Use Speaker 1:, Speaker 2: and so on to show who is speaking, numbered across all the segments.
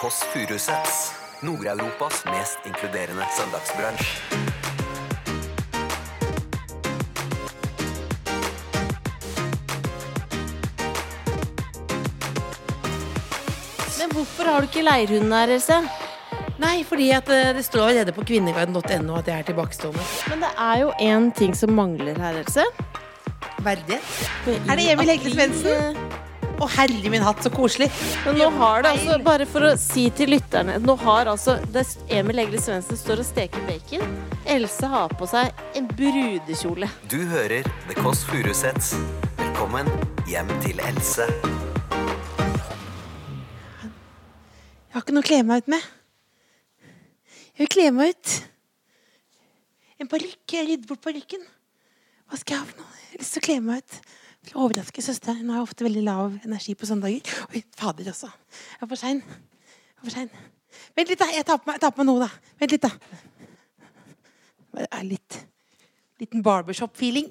Speaker 1: Kåss Furuseths. Nord-Europas mest inkluderende søndagsbransj.
Speaker 2: Men hvorfor har du ikke leirhunden her, Else?
Speaker 3: Nei, fordi at eh, det står allerede på kvinneguiden.no at jeg er tilbakestående.
Speaker 2: Men det er jo én ting som mangler her, Else.
Speaker 3: Verdighet.
Speaker 2: For
Speaker 3: Er det
Speaker 2: i
Speaker 3: Emil Hegle
Speaker 2: april-
Speaker 3: Svendsen? Å, herlig min hatt, så koselig.
Speaker 2: Men nå har det altså, bare for å si til lytterne Nå har altså det Emil Hegle Svendsen står og steker bacon. Else har på seg en brudekjole.
Speaker 1: Du hører The Kåss Furuseths. Velkommen hjem til Else.
Speaker 3: Jeg har ikke noe å kle meg ut med. Jeg vil kle meg ut. En parykk. Jeg rydder bort parykken. Hva skal jeg ha for noe? Jeg har lyst til å kle meg ut. For å overraske søsteren. Hun har ofte veldig lav energi på søndager. Oi, fader også. Jeg er for sein. Jeg er for sein. Vent litt, da. Jeg tar på meg, jeg tar på meg noe, da. Vent litt, da. Det er litt Liten barbershop-feeling.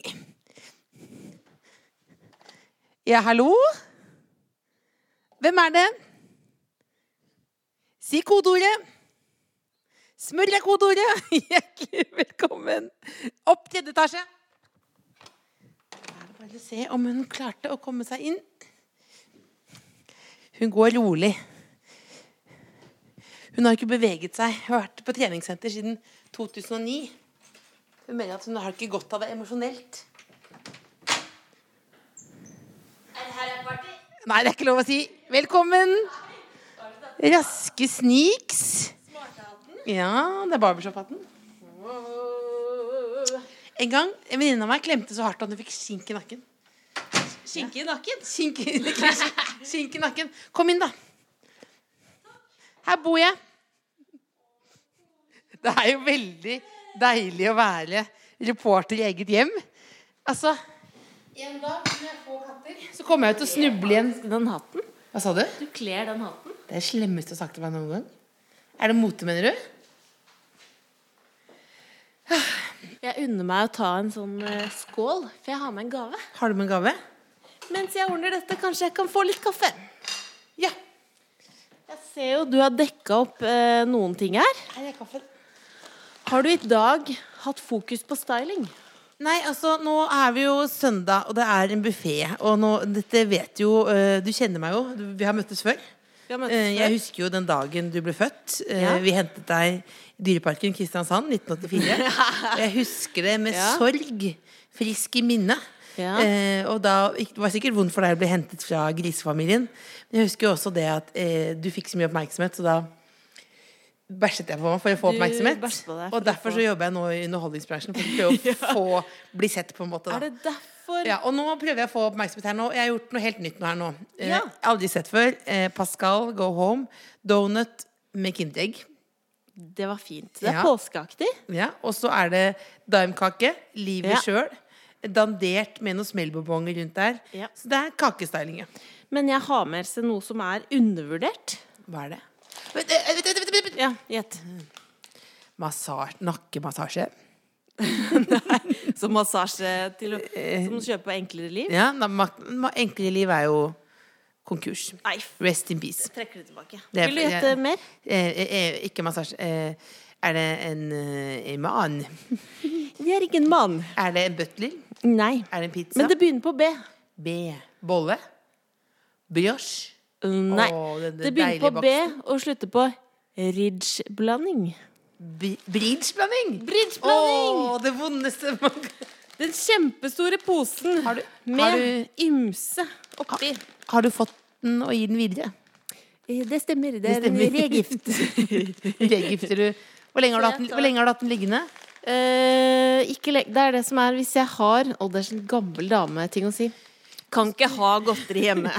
Speaker 3: Ja, hallo? Hvem er det? Si kodeordet. Smør er kodeordet. Hjertelig velkommen opp tredje etasje. Da er det bare å se om hun klarte å komme seg inn. Hun går rolig. Hun har ikke beveget seg. Hun har vært på treningssenter siden 2009. Hun mener at hun har ikke godt av det emosjonelt. Nei, det er ikke lov å si. Velkommen. Raske sneaks. Ja, det er barbershop-hatten. En gang en venninne av meg klemte så hardt at hun fikk skink i nakken. Skink i nakken? Skink, skink i nakken. Kom inn, da. Her bor jeg. Det er jo veldig deilig å være reporter i eget hjem. Altså En dag med få katter, så kommer jeg ut og snubler igjen.
Speaker 2: Den hatten.
Speaker 3: Hva sa du?
Speaker 2: Du kler den hatten.
Speaker 3: Det er det slemmeste du har sagt til meg noen gang. Er det mote, mener du?
Speaker 2: Jeg unner meg å ta en sånn eh, skål, for jeg har med en gave.
Speaker 3: Har du med en gave?
Speaker 2: Mens jeg ordner dette, kanskje jeg kan få litt kaffe.
Speaker 3: Ja.
Speaker 2: Jeg ser jo du har dekka opp eh, noen ting her.
Speaker 3: Her er kaffen.
Speaker 2: Har du i dag hatt fokus på styling?
Speaker 3: Nei, altså, nå er vi jo søndag, og det er en buffé. Og nå, dette vet jo eh, Du kjenner meg jo. Du, vi har møttes før.
Speaker 2: Vi har møttes
Speaker 3: Eh,
Speaker 2: før.
Speaker 3: Jeg husker jo den dagen du ble født. Eh,
Speaker 2: Ja.
Speaker 3: Vi hentet deg i Dyreparken Kristiansand 1984. Og jeg husker det med
Speaker 2: Ja.
Speaker 3: sorg. Frisk i minnet.
Speaker 2: Ja.
Speaker 3: Eh, og da, ikk- Det var sikkert vondt for deg å bli hentet fra grisefamilien. Men jeg husker jo også det at eh, du fikk så mye oppmerksomhet, så da bæsjet jeg på meg for å få
Speaker 2: Du
Speaker 3: oppmerksomhet.
Speaker 2: bæsjet på deg for
Speaker 3: Og
Speaker 2: å
Speaker 3: derfor
Speaker 2: få-
Speaker 3: så jobber jeg nå i underholdningsbransjen for å prøve å få bli sett, på en måte. Da.
Speaker 2: Er det derfor?
Speaker 3: Ja, og nå prøver jeg å få oppmerksomhet her nå. Jeg har gjort noe helt nytt nå her nå. Eh,
Speaker 2: Ja.
Speaker 3: Aldri sett før. Eh, Pascal, go home. Donut med kinderegg.
Speaker 2: Det var fint. Det er
Speaker 3: Ja.
Speaker 2: påskeaktig.
Speaker 3: Ja. Og så er det daimkake. Livet
Speaker 2: Ja.
Speaker 3: selv sjøl. Dandert med noen smellbobonger rundt der.
Speaker 2: Ja.
Speaker 3: Så det er kakestyling, ja.
Speaker 2: Men jeg har med seg noe som er undervurdert.
Speaker 3: Hva er det? Vent, eh, vent, vent, vent, vent.
Speaker 2: Ja, gjett.
Speaker 3: Massasje. Nakkemassasje.
Speaker 2: Som massasje til Som du kjøper på Enklere liv.
Speaker 3: Ja, da, mak- ma- enklere liv er jo konkurs.
Speaker 2: Nei,
Speaker 3: Rest in peace.
Speaker 2: trekker det tilbake.
Speaker 3: Det er-
Speaker 2: Vil du gjette
Speaker 3: jeg-
Speaker 2: mer?
Speaker 3: Eh, eh, eh, ikke massasje. Eh, er det en eh, man?
Speaker 2: Jeg er ikke en mann.
Speaker 3: Er det en butler?
Speaker 2: Nei.
Speaker 3: Er det en pizza?
Speaker 2: Men det begynner på B.
Speaker 3: B. Bolle? Brioche?
Speaker 2: Nei.
Speaker 3: Åh, den- den
Speaker 2: Det begynner på
Speaker 3: deilige
Speaker 2: B og slutter på ridgeblanding.
Speaker 3: Bi- Bridgeblanding?
Speaker 2: Bridgeblanding!
Speaker 3: Åh, det vondeste man kan
Speaker 2: Den kjempestore posen
Speaker 3: Har du-
Speaker 2: med
Speaker 3: har du-
Speaker 2: ymse oppi.
Speaker 3: Har du fått den og gir den videre?
Speaker 2: Eh, Det stemmer. Det
Speaker 3: Det
Speaker 2: er en
Speaker 3: stemmer.
Speaker 2: regift.
Speaker 3: Regifter du hvor lenge, har du hatt den, hvor lenge har du hatt den liggende?
Speaker 2: Eh, ikke le det er det som er hvis jeg har Å, det er sånn gammel dame-ting å si. Kan ikke ha godteri hjemme.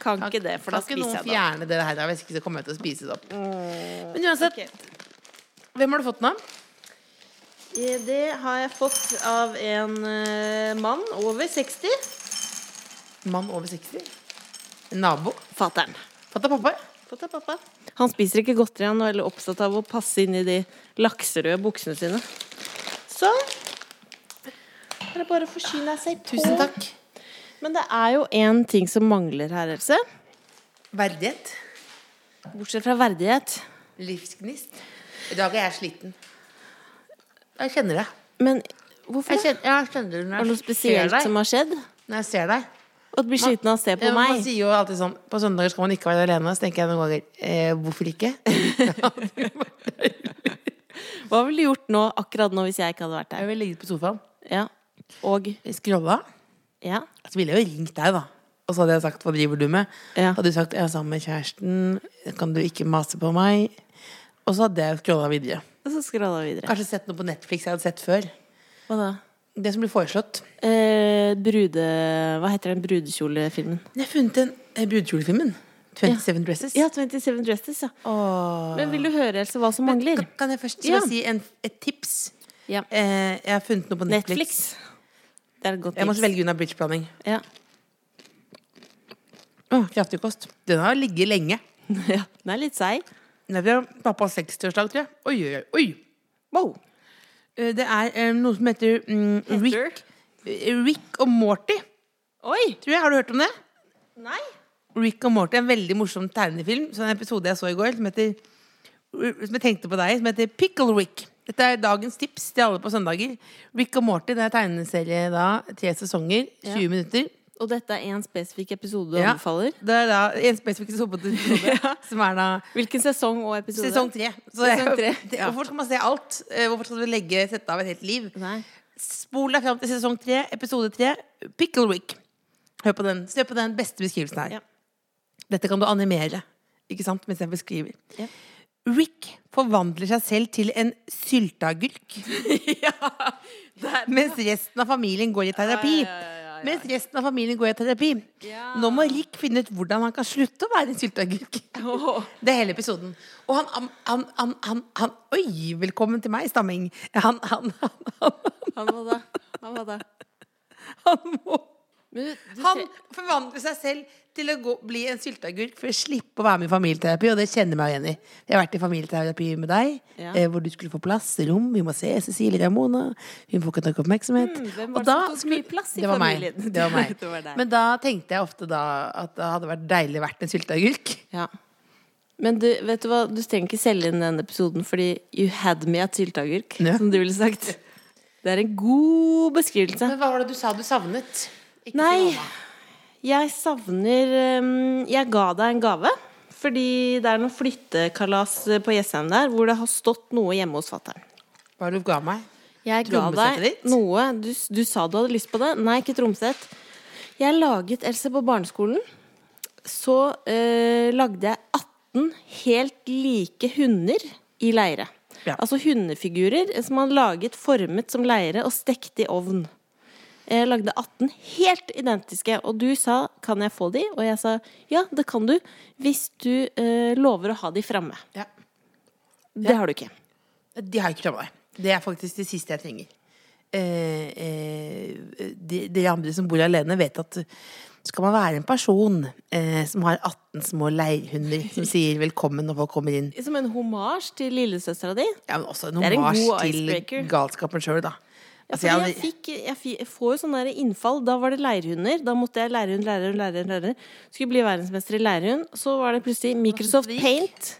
Speaker 2: Kan ikke det, for da
Speaker 3: Kan
Speaker 2: spiser
Speaker 3: ikke noen
Speaker 2: jeg det.
Speaker 3: fjerne det Mm. her, da, hvis ikke så kommer jeg til å spise det opp. Men uansett, hvem har du fått den av?
Speaker 2: Eh, Det har jeg fått av en eh, mann over 60.
Speaker 3: Mann over 60? En nabo?
Speaker 2: Fatter'n.
Speaker 3: Fått av pappa?
Speaker 2: Fått av pappa. Han spiser ikke godteri, han er veldig opptatt av å passe inn i de lakserøde buksene sine. Så er det bare å forsyne seg på.
Speaker 3: Tusen takk.
Speaker 2: Men det er jo én ting som mangler her, Else.
Speaker 3: Verdighet?
Speaker 2: Bortsett fra verdighet.
Speaker 3: Livsgnist. I dag er jeg sliten. Jeg kjenner det.
Speaker 2: Men hvorfor
Speaker 3: Jeg
Speaker 2: det?
Speaker 3: kjenner, jeg kjenner det
Speaker 2: Er
Speaker 3: når
Speaker 2: det
Speaker 3: jeg
Speaker 2: noe spesielt
Speaker 3: ser deg.
Speaker 2: som har skjedd?
Speaker 3: Når jeg ser deg.
Speaker 2: At du blir sliten av å se på
Speaker 3: Ja, men Man
Speaker 2: meg?
Speaker 3: sier jo alltid sånn På søndager skal man ikke være alene. Så tenker jeg noen ganger eh, hvorfor ikke?
Speaker 2: Hva ville du gjort nå, akkurat nå, hvis jeg ikke hadde vært der?
Speaker 3: Jeg ville ligget på sofaen,
Speaker 2: Ja. Og
Speaker 3: scrolla.
Speaker 2: Ja.
Speaker 3: Så ville jeg jo ringt deg, da. Og så hadde jeg sagt 'hva driver du med?'
Speaker 2: Ja.
Speaker 3: Hadde du sagt 'jeg er sammen med kjæresten', 'kan du ikke mase på meg'? Og så hadde jeg scrolla videre.
Speaker 2: Og så scrolla vi videre.
Speaker 3: Kanskje sett noe på Netflix jeg hadde sett før.
Speaker 2: Hva da?
Speaker 3: Det som blir foreslått.
Speaker 2: Eh, brude... Hva heter den brudekjolefilmen?
Speaker 3: Men Jeg har funnet den eh, brudekjolefilmen. 27 Dresses.
Speaker 2: Ja, 27 Dresses, ja.
Speaker 3: Åh.
Speaker 2: Men vil du høre, Else, hva som mangler?
Speaker 3: Kan, kan jeg først
Speaker 2: Ja.
Speaker 3: bare si en, et tips?
Speaker 2: Ja.
Speaker 3: Eh, jeg har funnet noe på Netflix.
Speaker 2: Netflix. Det er et godt
Speaker 3: Jeg måtte
Speaker 2: tips.
Speaker 3: velge unna bridgeblanding.
Speaker 2: Ja.
Speaker 3: Oh, kraftig kost. Den har ligget lenge.
Speaker 2: ja. Den er litt seig.
Speaker 3: Den er fra pappas 60-årsdag, tror jeg. Oi, oi, oi.
Speaker 2: Wow.
Speaker 3: Eh, Det er eh, noe som heter mm, Rick, Eh, Rick og Morty.
Speaker 2: Oi!
Speaker 3: Tror jeg. Har du hørt om det?
Speaker 2: Nei.
Speaker 3: Rick og Morty er en veldig morsom tegnefilm. Så en episode jeg så i går, som heter som jeg tenkte på deg, som heter Pickle Rick. Dette er dagens tips til alle på søndager. Rick og Morty det er tegneserie da, tre sesonger, 20 minutter.
Speaker 2: Og dette er én spesifikk episode du
Speaker 3: Ja.
Speaker 2: anbefaler?
Speaker 3: Det er da en spesifikk episode, som er da
Speaker 2: Hvilken sesong og episode?
Speaker 3: sesong tre. Så
Speaker 2: Sesong tre,
Speaker 3: det-
Speaker 2: ja.
Speaker 3: Hvorfor skal man se alt? Eh, Hvorfor skal du legge, sette av et helt liv?
Speaker 2: Nei.
Speaker 3: Spol deg fram til sesong tre, episode tre, Pickle Rick. Hør på den. Se på den beste beskrivelsen her.
Speaker 2: Ja.
Speaker 3: Dette kan du animere ikke sant, mens jeg beskriver.
Speaker 2: Ja.
Speaker 3: Rick forvandler seg selv til en sylteagurk. Mens resten av familien går i terapi. Mens resten av familien går i terapi.
Speaker 2: Ja.
Speaker 3: Nå må Rick finne ut hvordan han kan slutte å være en sylteagurk.
Speaker 2: Åh.
Speaker 3: Det er hele episoden. Og han, han, han, han, han, han Oi, velkommen til meg, stamming. Han, han, han, han,
Speaker 2: Han var da. Han var da.
Speaker 3: han må
Speaker 2: Men du, du
Speaker 3: Han
Speaker 2: tre-
Speaker 3: forvandler seg selv til å gå, bli en sylteagurk for å slippe å være med i familieterapi, og det kjenner jeg meg igjen i. Jeg har vært i familieterapi med deg,
Speaker 2: Ja.
Speaker 3: eh, hvor du skulle få plass, rom, vi må se Cecilie Ramona, hun får ikke nok oppmerksomhet.
Speaker 2: Mm, hvem var
Speaker 3: Og
Speaker 2: det
Speaker 3: da
Speaker 2: som tok mye
Speaker 3: skulle-
Speaker 2: plass i
Speaker 3: det var
Speaker 2: familien?
Speaker 3: Meg. Det var meg.
Speaker 2: Det var deg.
Speaker 3: Men da tenkte jeg ofte da at det hadde vært deilig å vært en sylteagurk.
Speaker 2: Ja. Men du, vet du hva, du trenger ikke selge inn den episoden fordi you had me at sylteagurk,
Speaker 3: Ja.
Speaker 2: som du ville sagt. Det er en god beskrivelse.
Speaker 3: Men hva var det du sa du savnet? Ikke
Speaker 2: Nei, jeg savner eh, Jeg ga deg en gave. Fordi det er noe flyttekalas på Jessheim der hvor det har stått noe hjemme hos fatter'n.
Speaker 3: Hva var det du ga meg?
Speaker 2: Jeg ga
Speaker 3: Trommesettet
Speaker 2: deg
Speaker 3: ditt?
Speaker 2: noe du, du sa du hadde lyst på det. Nei, ikke trommesett. Jeg laget Else på barneskolen. Så eh, lagde jeg 18 helt like hunder i leire.
Speaker 3: Ja.
Speaker 2: Altså hundefigurer som man laget formet som leire og stekt i ovn. Jeg lagde 18 helt identiske, og du sa 'kan jeg få de?' Og jeg sa 'ja, det kan du hvis du eh, lover å ha de framme'.
Speaker 3: Ja.
Speaker 2: Det har du ikke.
Speaker 3: De har jeg ikke kramma. Det er faktisk det siste jeg trenger. Eh, eh, de, de andre som bor alene, vet at skal man være en person eh, som har 18 små leirhunder som sier velkommen når folk kommer inn
Speaker 2: Som en hommage til lillesøstera di.
Speaker 3: ja, men Også en
Speaker 2: er en
Speaker 3: hommage
Speaker 2: god icebreaker.
Speaker 3: til galskapen sjøl, da.
Speaker 2: Ja, fordi
Speaker 3: Altså,
Speaker 2: jeg,
Speaker 3: hadde-
Speaker 2: fikk, jeg, fi- jeg får jo sånne der innfall. Da var det leirhunder. Da måtte jeg leirhund, leirhund, leirhund. leirhund. Skulle bli verdensmester i leirhund. Så var det plutselig Microsoft
Speaker 3: det gikk?
Speaker 2: Paint.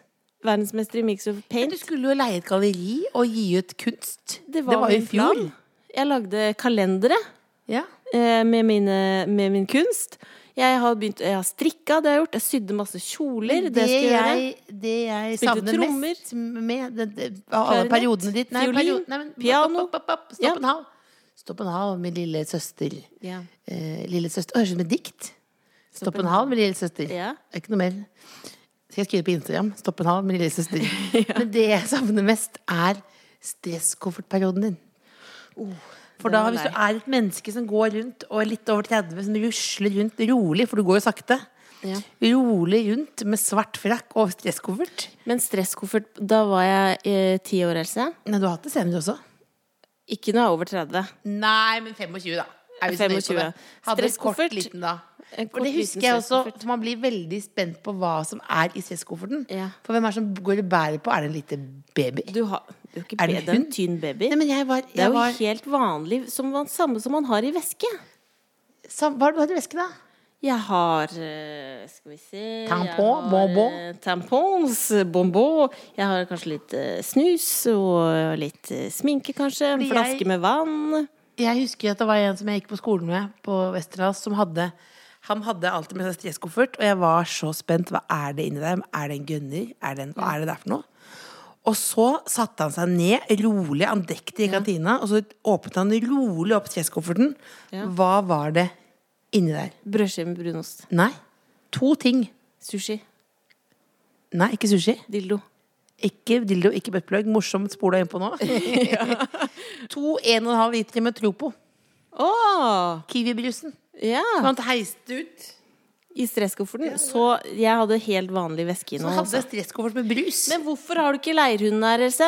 Speaker 2: Verdensmester i Microsoft
Speaker 3: du
Speaker 2: Paint.
Speaker 3: skulle jo leie et galleri og gi ut kunst.
Speaker 2: Det var,
Speaker 3: jo i
Speaker 2: min plan.
Speaker 3: fjor.
Speaker 2: Jeg lagde kalendere
Speaker 3: Ja.
Speaker 2: eh, med, mine, med min kunst. Jeg har, begynt, jeg har strikka, det har jeg gjort. Jeg sydde masse kjoler. Det,
Speaker 3: Det
Speaker 2: skal jeg gjøre.
Speaker 3: jeg, det jeg
Speaker 2: Spilte
Speaker 3: savner
Speaker 2: trommer.
Speaker 3: mest med det, det, av alle
Speaker 2: Klarinett,
Speaker 3: periodene ditt nei,
Speaker 2: fiolin,
Speaker 3: period- nei, men,
Speaker 2: piano.
Speaker 3: Stopp, stopp, stopp, stopp
Speaker 2: Ja.
Speaker 3: en halv. Stopp en halv, min lille søster.
Speaker 2: Ja.
Speaker 3: Eh, lille søster. Å, Høres ut som et dikt. Stopp
Speaker 2: en
Speaker 3: en halv, min lille søster.
Speaker 2: Ja.
Speaker 3: Det er Ikke noe mer. Skal jeg skrive på Instagram? Stopp en halv, min lille søster. Men det jeg savner mest, er stresskoffertperioden din. For
Speaker 2: Oh, den
Speaker 3: da,
Speaker 2: var
Speaker 3: hvis du
Speaker 2: lei.
Speaker 3: er et menneske som går rundt og er litt over 30, som rusler rundt rolig, for du går jo sakte
Speaker 2: Ja.
Speaker 3: Rolig rundt med svart frakk og stresskoffert
Speaker 2: Men stresskoffert Da var jeg eh, ti år, Else.
Speaker 3: Nei, du har hatt det senere også.
Speaker 2: Ikke når jeg er over 30.
Speaker 3: Nei, men 25, da. Er vi så nøye på
Speaker 2: 25,
Speaker 3: det?
Speaker 2: ja.
Speaker 3: Hadde en kort
Speaker 2: Stresskoffert.
Speaker 3: liten, da.
Speaker 2: En
Speaker 3: For
Speaker 2: kort
Speaker 3: det
Speaker 2: liten
Speaker 3: husker jeg også,
Speaker 2: stresskoffert.
Speaker 3: så man blir veldig spent på hva som er i stresskofferten.
Speaker 2: Ja.
Speaker 3: For hvem er det som går og bærer på? Er det en liten baby?
Speaker 2: Du har du er ikke
Speaker 3: Er det
Speaker 2: bedre enn
Speaker 3: hund?
Speaker 2: tynn baby.
Speaker 3: Nei, men jeg var,
Speaker 2: Det er
Speaker 3: jeg
Speaker 2: jo
Speaker 3: var
Speaker 2: helt vanlig, som man, samme som man har i væske.
Speaker 3: sam, Hva har du hatt i vesken, da?
Speaker 2: Jeg har eh, Skal vi se
Speaker 3: Tampon,
Speaker 2: jeg har,
Speaker 3: bonbon.
Speaker 2: eh, Tampons, bonbon. Jeg har kanskje litt eh, snus og litt eh, sminke, kanskje. En
Speaker 3: Fordi jeg-
Speaker 2: flaske med vann.
Speaker 3: Jeg husker at det var en som jeg gikk på skolen med på Westerdals, som hadde Han hadde alltid med seg stresskoffert, og jeg var så spent. Hva er det inni der? Er det en gunner? Er det en, hva er det der for noe? Og så satte han seg ned, rolig, andektig i kantina, og så åpnet han rolig opp stresskofferten.
Speaker 2: Ja.
Speaker 3: Hva var det inni der?
Speaker 2: Brødskive med brunost.
Speaker 3: Nei. To ting.
Speaker 2: Sushi.
Speaker 3: Nei, ikke sushi.
Speaker 2: Dildo.
Speaker 3: Ikke dildo, ikke buttplug. Morsomt spola innpå nå. to en og en halv liter med Tropo.
Speaker 2: Å!
Speaker 3: Kiwi-brusen. Som
Speaker 2: Ja.
Speaker 3: han heiste ut.
Speaker 2: I stresskofferten. Så jeg hadde helt vanlig væske i
Speaker 3: Så
Speaker 2: nå.
Speaker 3: hadde
Speaker 2: altså.
Speaker 3: jeg stresskoffert med brus.
Speaker 2: Men hvorfor har du ikke leirhunden her, Else?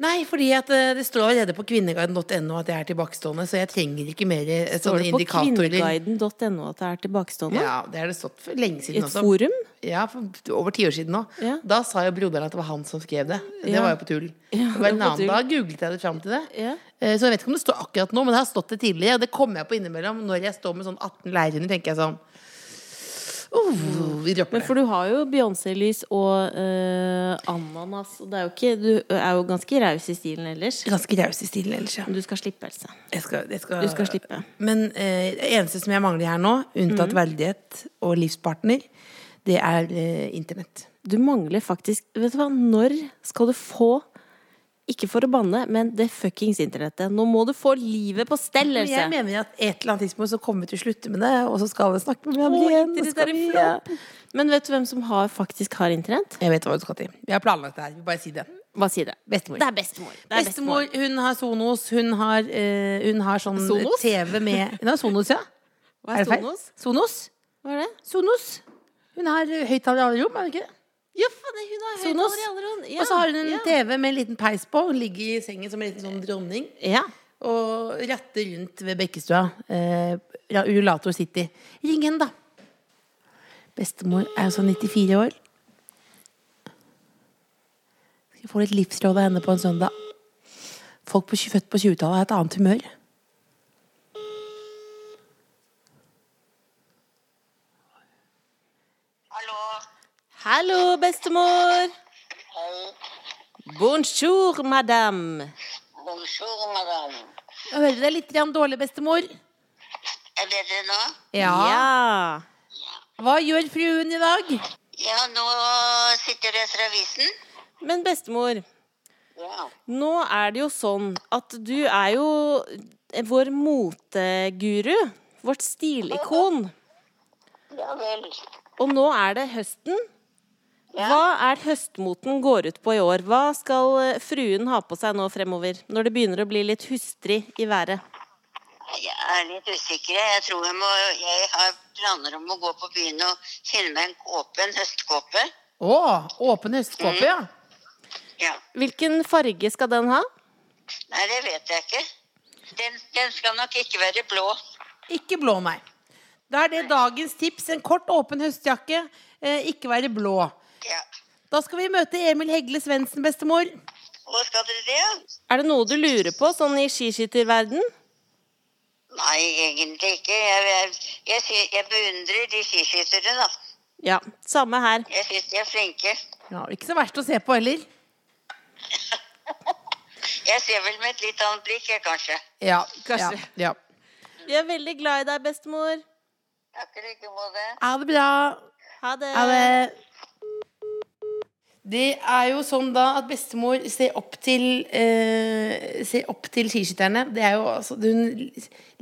Speaker 3: Nei, fordi at eh, det står allerede på kvinneguiden.no at jeg er tilbakestående, så jeg trenger ikke mer eh,
Speaker 2: Står
Speaker 3: sånne
Speaker 2: det på
Speaker 3: indikatorer.
Speaker 2: kvinneguiden.no at det er tilbakestående?
Speaker 3: Ja, det er det stått for lenge
Speaker 2: I
Speaker 3: siden
Speaker 2: et
Speaker 3: også.
Speaker 2: forum?
Speaker 3: Ja, for over ti år siden nå.
Speaker 2: Ja.
Speaker 3: Da sa jo broderen at det var han som skrev det. Det
Speaker 2: Ja.
Speaker 3: var jo på tull.
Speaker 2: Ja,
Speaker 3: det var
Speaker 2: det
Speaker 3: en
Speaker 2: var på tull.
Speaker 3: annen dag googlet jeg det fram til det.
Speaker 2: Ja.
Speaker 3: Eh, Så jeg vet ikke om det står akkurat nå, men det har stått det tidligere. Og det kommer jeg på innimellom når jeg står med sånn 18 leirhunder, tenker jeg sånn «Oh, vi dropper
Speaker 2: Men
Speaker 3: det.
Speaker 2: for du har jo Beyoncé-lys og eh, ananas. Og det er jo ikke, du er jo ganske raus i stilen ellers.
Speaker 3: Ganske raus i stilen ellers, ja.
Speaker 2: Men du skal slippe, Else.
Speaker 3: Jeg skal, jeg skal,
Speaker 2: Du skal slippe. Mhm.
Speaker 3: Men eh, det eneste som jeg mangler her nå, unntatt verdighet og livspartner, det er eh, internett.
Speaker 2: Du mangler faktisk Vet du hva, når skal du få ikke for å banne, men det fuckings internettet. Nå må du få livet på stell,
Speaker 3: Men jeg
Speaker 2: Else!
Speaker 3: mener at et eller annet tidspunkt så kommer vi til å slutte med det, og så skal alle snakke med
Speaker 2: Å,
Speaker 3: hverandre igjen. og
Speaker 2: internett
Speaker 3: skal
Speaker 2: er
Speaker 3: vi-
Speaker 2: en flopp. Men vet du hvem som har, faktisk har internett?
Speaker 3: Jeg vet hva du skal til. Vi har planlagt det her. Vi bare si det.
Speaker 2: Hva sier det?
Speaker 3: Bestemor.
Speaker 2: Det er bestemor. Det er
Speaker 3: Bestemor, hun har Sonos. Hun har, eh, hun har sånn
Speaker 2: Sonos?
Speaker 3: TV med Hun har Sonos, ja.
Speaker 2: Hva er
Speaker 3: det feil?
Speaker 2: Sonos?
Speaker 3: Sonos?
Speaker 2: Hva er det?
Speaker 3: Sonos. Hun har eh, høyttaler i alle rom, er det ikke det?
Speaker 2: Ja, faen, hun har
Speaker 3: Sonos.
Speaker 2: høyttaler i alle rom. Ja,
Speaker 3: Og så har hun en
Speaker 2: ja.
Speaker 3: TV med en liten peis på. Hun ligger i sengen som en liten sånn dronning.
Speaker 2: Ja.
Speaker 3: Og ratter rundt ved Bekkestua. Eh, ra- rullator City. Ring henne, da. Bestemor er jo sånn 94 år. Skal få litt livsråd av henne på en søndag. Folk på, født på 20-tallet har et annet humør.
Speaker 4: Hallo.
Speaker 2: Hallo, bestemor!
Speaker 4: Hei.
Speaker 2: Bonjour, madame.
Speaker 4: Bonjour, madame.
Speaker 3: Jeg hører deg litt grann dårlig, bestemor.
Speaker 4: Er det det nå?
Speaker 2: Ja.
Speaker 3: Hva gjør fruen i dag?
Speaker 4: Ja, nå sitter jeg og leser avisen.
Speaker 2: Men bestemor,
Speaker 4: Ja.
Speaker 2: nå er det jo sånn at du er jo vår moteguru. Vårt stilikon.
Speaker 4: Ja vel.
Speaker 2: Og nå er det høsten.
Speaker 4: Ja.
Speaker 2: Hva er høstmoten går ut på i år? Hva skal eh, fruen ha på seg nå fremover? Når det begynner å bli litt hustrig i været.
Speaker 4: Jeg er litt usikker. jeg. Jeg tror jeg må Jeg har planer om å gå på byen og filme en åpen høstkåpe.
Speaker 3: Å, åpen høstkåpe, ja.
Speaker 4: Ja.
Speaker 2: Hvilken farge skal den ha?
Speaker 4: Nei, det vet jeg ikke. Den, den skal nok ikke være blå.
Speaker 3: Ikke blå, nei. Da er det dagens tips. En kort, åpen høstjakke. Eh, ikke være blå.
Speaker 4: Ja.
Speaker 3: Da skal vi møte Emil Hegle Svendsen, bestemor.
Speaker 4: Og skal dere det? ja?
Speaker 2: Er det noe du lurer på sånn i skiskytterverden?
Speaker 4: Nei, egentlig ikke. Jeg, jeg, jeg, sy- jeg beundrer de skiskytterne, da.
Speaker 2: Ja, samme her.
Speaker 4: Jeg syns de er flinke.
Speaker 3: Ja, ikke så verst å se på heller.
Speaker 4: Jeg ser vel med et litt annet blikk, jeg, kanskje.
Speaker 3: Ja,
Speaker 2: Kanskje.
Speaker 3: Ja, ja.
Speaker 2: Vi er veldig glad i deg, bestemor.
Speaker 4: Takk i like måte.
Speaker 3: Ha det bra.
Speaker 2: Ha det.
Speaker 3: Ha det. Det er jo sånn da at bestemor ser opp til eh, Ser opp til skiskytterne. Det er jo altså Hun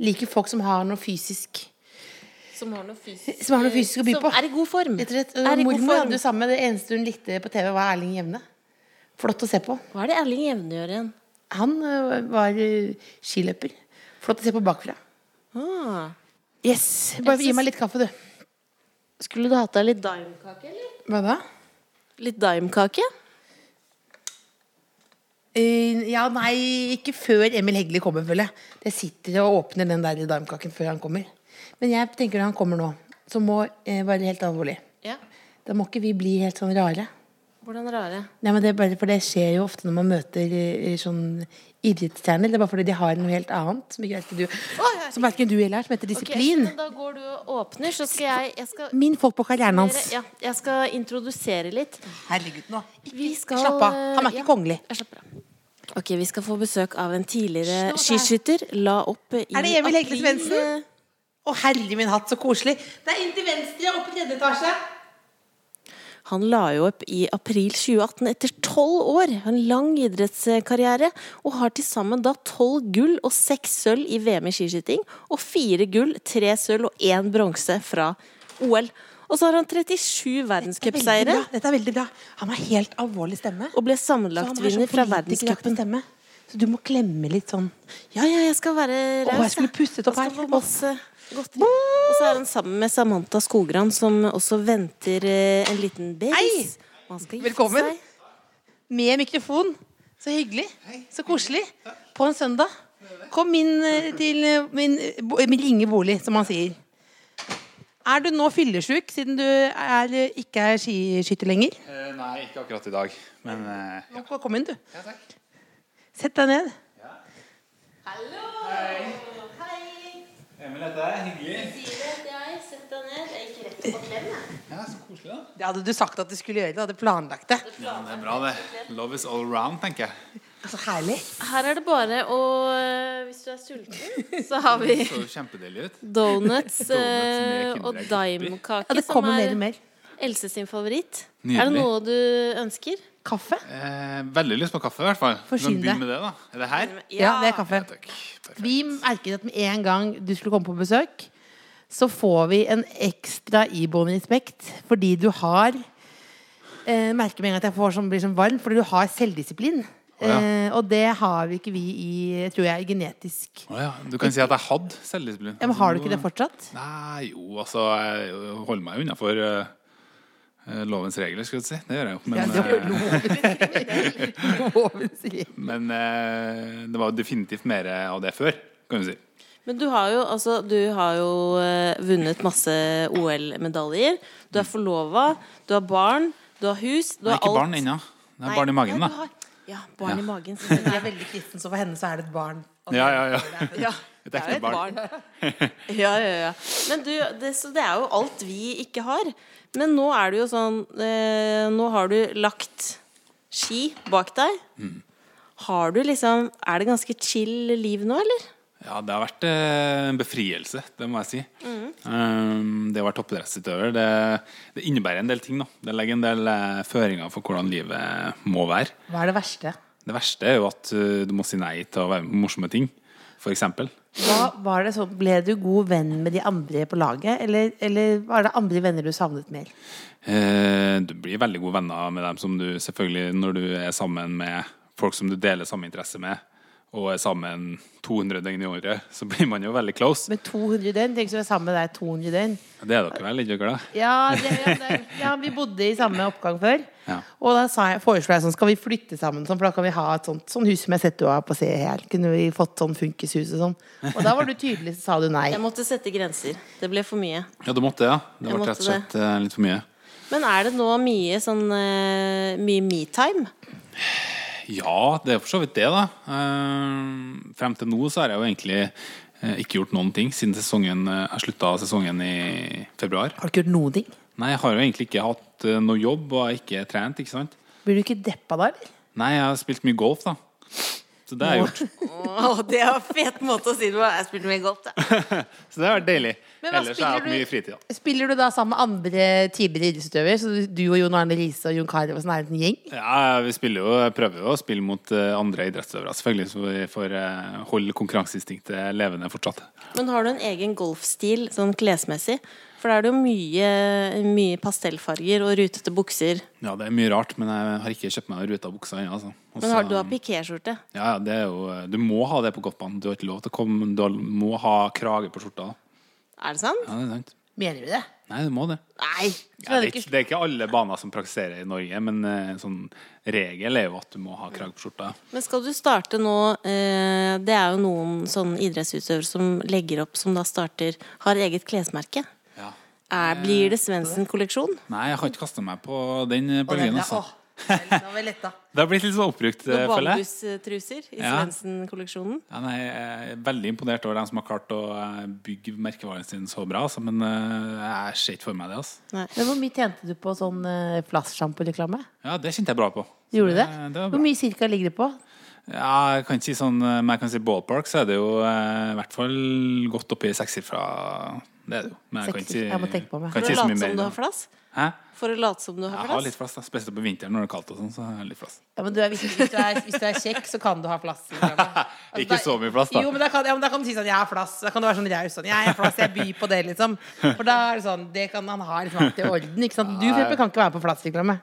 Speaker 3: liker folk som har noe fysisk.
Speaker 2: Som har noe fysisk,
Speaker 3: Som har noe fysisk å by på.
Speaker 2: Som er i god form.
Speaker 3: Rett og slett.
Speaker 2: Er i god
Speaker 3: Mormor
Speaker 2: form.
Speaker 3: hadde jo samme. Det eneste hun likte på TV, var Erling Jevne. Flott å se på.
Speaker 2: Hva er det Erling Jevne gjør igjen?
Speaker 3: Han ø, var ø, skiløper. Flott å se på bakfra.
Speaker 2: Ah.
Speaker 3: Yes, Bare gi meg litt kaffe, du.
Speaker 2: Skulle du hatt deg litt daimkake, eller?
Speaker 3: Hva da?
Speaker 2: Litt daimkake?
Speaker 3: Eh, ja, nei, ikke før Emil Hegle kommer, føler jeg. Jeg sitter og åpner den der daimkaken før han kommer. Men jeg tenker når han kommer nå, så må jeg være helt eh, alvorlig.
Speaker 2: Ja.
Speaker 3: Da må ikke vi bli helt sånn rare.
Speaker 2: Hvordan rare?
Speaker 3: Nei, men det er bare For det skjer jo ofte når man møter eh, sånn idrettsstjerner. Det er bare fordi de har noe helt annet som ikke verken du, som verken du eller er, som heter
Speaker 2: Ok,
Speaker 3: disiplin.
Speaker 2: men da går du og åpner, så skal jeg Jeg skal,
Speaker 3: Min folk på karrieren hans.
Speaker 2: ja, jeg skal introdusere litt.
Speaker 3: Herregud, nå. Ikke,
Speaker 2: Vi skal
Speaker 3: slapp av. Han er ikke
Speaker 2: ja,
Speaker 3: kongelig.
Speaker 2: Jeg slapper av. Ok, Vi skal få besøk av en tidligere
Speaker 3: Slå
Speaker 2: skiskytter. La opp i
Speaker 3: Er det Emil Hegle
Speaker 2: april.
Speaker 3: Svendsen? Å, herre min hatt, så koselig. Det er inn til venstre, opp i tredje etasje.
Speaker 2: Han la jo opp i april 2018 etter tolv år, en lang idrettskarriere, og har til sammen da tolv gull og seks sølv i VM i skiskyting, og fire gull, tre sølv og én bronse fra OL. Og så har han 37
Speaker 3: Veldig
Speaker 2: verdenscupseiere,
Speaker 3: bra, Dette er veldig bra. Han har helt alvorlig stemme.
Speaker 2: og ble
Speaker 3: Så han er sånn
Speaker 2: sammenlagtvinner fra
Speaker 3: politikeraktig
Speaker 2: verdenscupen.
Speaker 3: stemme. Så du må klemme litt sånn.
Speaker 2: Ja, ja, jeg skal være
Speaker 3: Å, jeg
Speaker 2: raus.
Speaker 3: skulle pustet opp
Speaker 2: Jeg
Speaker 3: her.
Speaker 2: skal få masse godteri. Og så er han sammen med Samantha Skogran, som også venter eh, en liten babys. Og han skal gifte
Speaker 3: Velkommen.
Speaker 2: seg.
Speaker 3: Med mikrofon. Så hyggelig. Så koselig. På en søndag. Kom inn eh, til eh, min, eh, bo- min ringe bolig, som han sier. Er du nå fyllesjuk, siden du er, eh, ikke er skiskytter lenger?
Speaker 5: Eh, nei, ikke akkurat i dag. Men eh, ja.
Speaker 3: Kom inn, du.
Speaker 5: ja, takk.
Speaker 3: Sett deg ned.
Speaker 5: Emil, dette er hyggelig. Ja, Så koselig, da.
Speaker 3: Det hadde du sagt at du skulle gjøre. Du hadde planlagt det.
Speaker 5: Ja, men Det er bra, det. Love is all round, tenker jeg.
Speaker 3: Så herlig.
Speaker 2: Her er det bare å eh, Hvis du er sulten, så har vi
Speaker 5: Det så jo kjempedeilig ut.
Speaker 2: donuts
Speaker 5: Donuts
Speaker 2: eh,
Speaker 5: med
Speaker 2: og
Speaker 5: Kinderegg
Speaker 3: Ja,
Speaker 2: daimkake,
Speaker 3: det
Speaker 2: som
Speaker 3: kommer mer
Speaker 2: er
Speaker 3: og mer.
Speaker 2: Else sin favoritt.
Speaker 5: Nydelig.
Speaker 2: Er det noe du ønsker?
Speaker 3: Kaffe?
Speaker 5: Eh, veldig lyst på kaffe, i hvert fall.
Speaker 3: Forsyn
Speaker 5: Begynn
Speaker 3: deg.
Speaker 5: med det, da. Er det her?
Speaker 3: Ja, det er kaffe.
Speaker 5: Ja, takk. Perfekt.
Speaker 3: Vi merket at med en gang du skulle komme på besøk, så får vi en ekstra iboende respekt fordi du har eh, Merker med en gang at jeg får sånn, blir sånn varm, fordi du har selvdisiplin.
Speaker 5: Å, ja.
Speaker 3: eh, og det har vi ikke vi i, tror jeg, genetisk.
Speaker 5: Å ja. Du kan si at jeg hadde selvdisiplin.
Speaker 3: Ja, men har du ikke det fortsatt?
Speaker 5: Nei, jo, altså Jeg holder meg jo innafor eh, lovens regler, skulle jeg si. Det gjør jeg jo.
Speaker 3: Ja,
Speaker 5: Men,
Speaker 3: det var
Speaker 5: eh,
Speaker 3: loven. Loven sier.
Speaker 5: men eh, det var jo definitivt mer av det før, kan du si.
Speaker 2: Men du har jo, altså, du har jo eh, vunnet masse OL-medaljer. Du er forlova, du har barn, du har hus, du har
Speaker 5: Jeg er Mm. ikke
Speaker 2: alt.
Speaker 5: barn ennå. Jeg
Speaker 2: Nei.
Speaker 5: har barn i magen, da.
Speaker 2: Ja, barn
Speaker 5: Ja.
Speaker 2: i magen. selvfølgelig.
Speaker 3: Jeg er veldig kristen, så for henne så er det et barn.
Speaker 5: Ja, ja, ja.
Speaker 2: Ja,
Speaker 5: Et ekte barn.
Speaker 2: Ja, ja, ja. Men du, det, så det er jo alt vi ikke har. Men nå er det jo sånn eh, Nå har du lagt ski bak deg. Har du liksom Er det ganske chill liv nå, eller?
Speaker 5: Ja, det har vært eh, en befrielse, det må jeg si. Um, det å være toppidrettsutøver, det, det innebærer en del ting, da. Det legger en del eh, føringer for hvordan livet må være.
Speaker 3: Hva er det verste?
Speaker 5: Det verste er jo at eh, du må si nei til å være med på morsomme ting, for eksempel.
Speaker 3: Da var det sånn, Ble du god venn med de andre på laget, eller, eller var det andre venner du savnet mer?
Speaker 5: Eh, du blir veldig gode venner med dem som du selvfølgelig når du er sammen med folk som du deler samme interesse med, og er sammen 200 døgn i året, så blir man jo veldig close.
Speaker 3: Med 200 døgn? Tenk så vi er sammen med deg 200 døgn.
Speaker 5: Det er dere vel, ikke dere? det?
Speaker 3: Ja, det, ja, det, ja, vi bodde i samme oppgang før.
Speaker 5: Ja.
Speaker 3: Og da sa jeg, foreslo jeg sånn, skal vi flytte sammen, sånn, for da kan vi ha et sånt, sånn hus som jeg har sett du har på Se her. Kunne vi fått sånn funkishus og sånn? Og da var du tydelig, så sa du nei.
Speaker 2: Jeg måtte sette grenser. Det ble for mye.
Speaker 5: Ja, du måtte det, ja.
Speaker 2: Jeg
Speaker 5: Det ble
Speaker 2: måtte
Speaker 5: rett og slett eh, litt for mye.
Speaker 2: Men er det nå mye sånn eh, Mye metime?
Speaker 5: Ja, det er for så vidt det, da. Eh, frem til nå så har jeg jo egentlig eh, ikke gjort noen ting siden sesongen, eh, jeg slutta sesongen i februar.
Speaker 3: Har du ikke gjort noen ting?
Speaker 5: Nei, jeg har jo egentlig ikke hatt eh, noe jobb og har ikke trent, ikke sant.
Speaker 3: Blir du ikke deppa da, eller?
Speaker 5: Nei, jeg har spilt mye golf, da. Så det har jeg gjort.
Speaker 2: Å, det var en fet måte å si det på. Jeg spilte mye golf, jeg.
Speaker 5: Så det har vært deilig.
Speaker 3: Men hva
Speaker 5: Ellers har jeg hatt
Speaker 3: spiller
Speaker 5: mye fritid. da.
Speaker 3: Spiller du da sammen med andre tidligere idrettsutøver? Så du- du og Jon Arne Riise og Jon Carew er en gjeng?
Speaker 5: Ja, vi spiller jo, jeg prøver jo å spille mot eh, andre idrettsøvere, selvfølgelig, så vi får eh, holde konkurranseinstinktet levende fortsatt.
Speaker 2: Men har du en egen golfstil sånn klesmessig? For da er det jo mye, mye pastellfarger og rutete bukser.
Speaker 5: Ja, det er mye rart, men jeg har ikke kjøpt meg noen ruta buksa ennå, altså. Og
Speaker 2: Men
Speaker 5: så-
Speaker 2: har du har pikéskjorte?
Speaker 5: Ja, ja, det er jo eh, Du må ha det på golfbanen. Du har ikke lov til å komme Du må ha krage på skjorta. da.
Speaker 2: Er det sant?
Speaker 5: Ja, det er sant.
Speaker 3: Mener du det?
Speaker 5: Nei, du må det.
Speaker 2: Nei!
Speaker 5: Ja, det, er ikke, det er ikke alle baner som praktiserer i Norge, men eh, sånn regel er jo at du må ha krage på skjorta.
Speaker 2: Men skal du starte nå eh, Det er jo noen sånne idrettsutøvere som legger opp, som da starter Har eget klesmerke.
Speaker 5: Ja. Eh,
Speaker 2: Er, blir det Svendsen-kolleksjon?
Speaker 5: Nei, jeg har ikke kasta meg på den
Speaker 3: Og
Speaker 5: bølgen,
Speaker 3: den-
Speaker 5: altså.
Speaker 3: åh,
Speaker 6: Nå er vi letta.
Speaker 5: Det har blitt litt sånn oppbrukt, eh,
Speaker 2: Noen
Speaker 5: føler jeg.
Speaker 2: bambustruser i
Speaker 5: Ja.
Speaker 2: Svendsen-kolleksjonen.
Speaker 5: Ja, nei, jeg er veldig imponert over dem som har klart å eh, bygge merkevaren sin så bra. Altså, men eh, jeg ser ikke for meg det. Altså.
Speaker 3: Men hvor mye tjente du på sånn uh, flasksjamporeklame?
Speaker 5: Ja, Det kjente jeg bra på. Så
Speaker 3: Gjorde du det?
Speaker 5: det var
Speaker 3: hvor
Speaker 5: bra.
Speaker 3: mye cirka ligger det på?
Speaker 5: Ja, jeg kan ikke si sånn, eh, men jeg kan si ballpark, så er det jo eh, i hvert fall godt oppi sekssifra. Det er det jo. Men jeg kan ikke si,
Speaker 3: Sekssifra, jeg må tenke på meg.
Speaker 5: kan
Speaker 2: For å
Speaker 5: ikke si så
Speaker 2: late
Speaker 5: mye
Speaker 2: som du har
Speaker 5: mer.
Speaker 2: flass?
Speaker 5: Hæ?
Speaker 2: For å late som du har
Speaker 5: Jeg har litt
Speaker 2: plass?
Speaker 5: flass, da. spesielt på vinteren når det er kaldt. og sånn, så har jeg litt flass.
Speaker 3: Ja, men du er, hvis, hvis, du er, hvis du er kjekk, så kan du ha flass. Altså,
Speaker 5: Ikke så mye flass, da.
Speaker 3: Jo, men da kan, ja, men da kan du si sånn 'jeg har flass'. Da kan du være sånn raus sånn 'jeg har flass, jeg byr på det', liksom. For da er det sånn Det kan han ha liksom alltid i orden. Ikke sant? Du for eksempel, kan ikke være på flassreklame.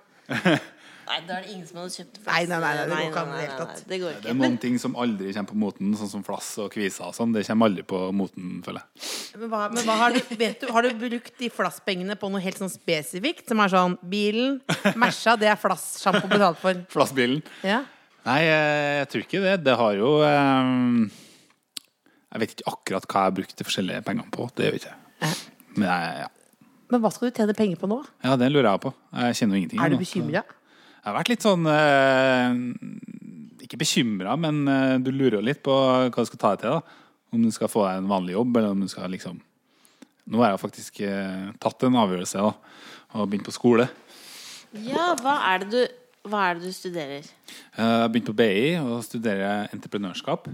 Speaker 2: Nei, da er det ingen som hadde kjøpt flass.
Speaker 3: Nei, nei, nei, det går ikke an i det hele tatt.
Speaker 2: det går
Speaker 5: Det
Speaker 2: ikke.
Speaker 5: er noen ting som aldri kommer på moten, sånn som flass og kviser og sånn. Det kommer aldri på moten, føler jeg.
Speaker 3: Men, hva, men hva har, du, vet du, har du brukt de flasspengene på noe helt sånn spesifikt? Som er sånn bilen, Merca, det er flass-sjampo betalt for.
Speaker 5: Flassbilen.
Speaker 3: Ja.
Speaker 5: Nei, eh, jeg tror ikke det. Det har jo eh, Jeg vet ikke akkurat hva jeg har brukt de forskjellige pengene på. Det gjør jeg ikke. Men jeg, ja.
Speaker 3: Men hva skal du tjene penger på nå?
Speaker 5: ja, det lurer jeg på. Jeg kjenner jo ingenting.
Speaker 3: Er du
Speaker 5: nå, så-
Speaker 3: bekymra?
Speaker 5: Jeg har vært litt sånn eh, Ikke bekymra, men eh, du lurer jo litt på hva du skal ta deg til. da. Om du skal få deg en vanlig jobb, eller om du skal liksom Nå har jeg faktisk eh, tatt en avgjørelse da, og begynt på skole.
Speaker 2: Ja, hva er det du, hva er det du studerer?
Speaker 5: Eh, Jeg har begynt på BI og studerer entreprenørskap.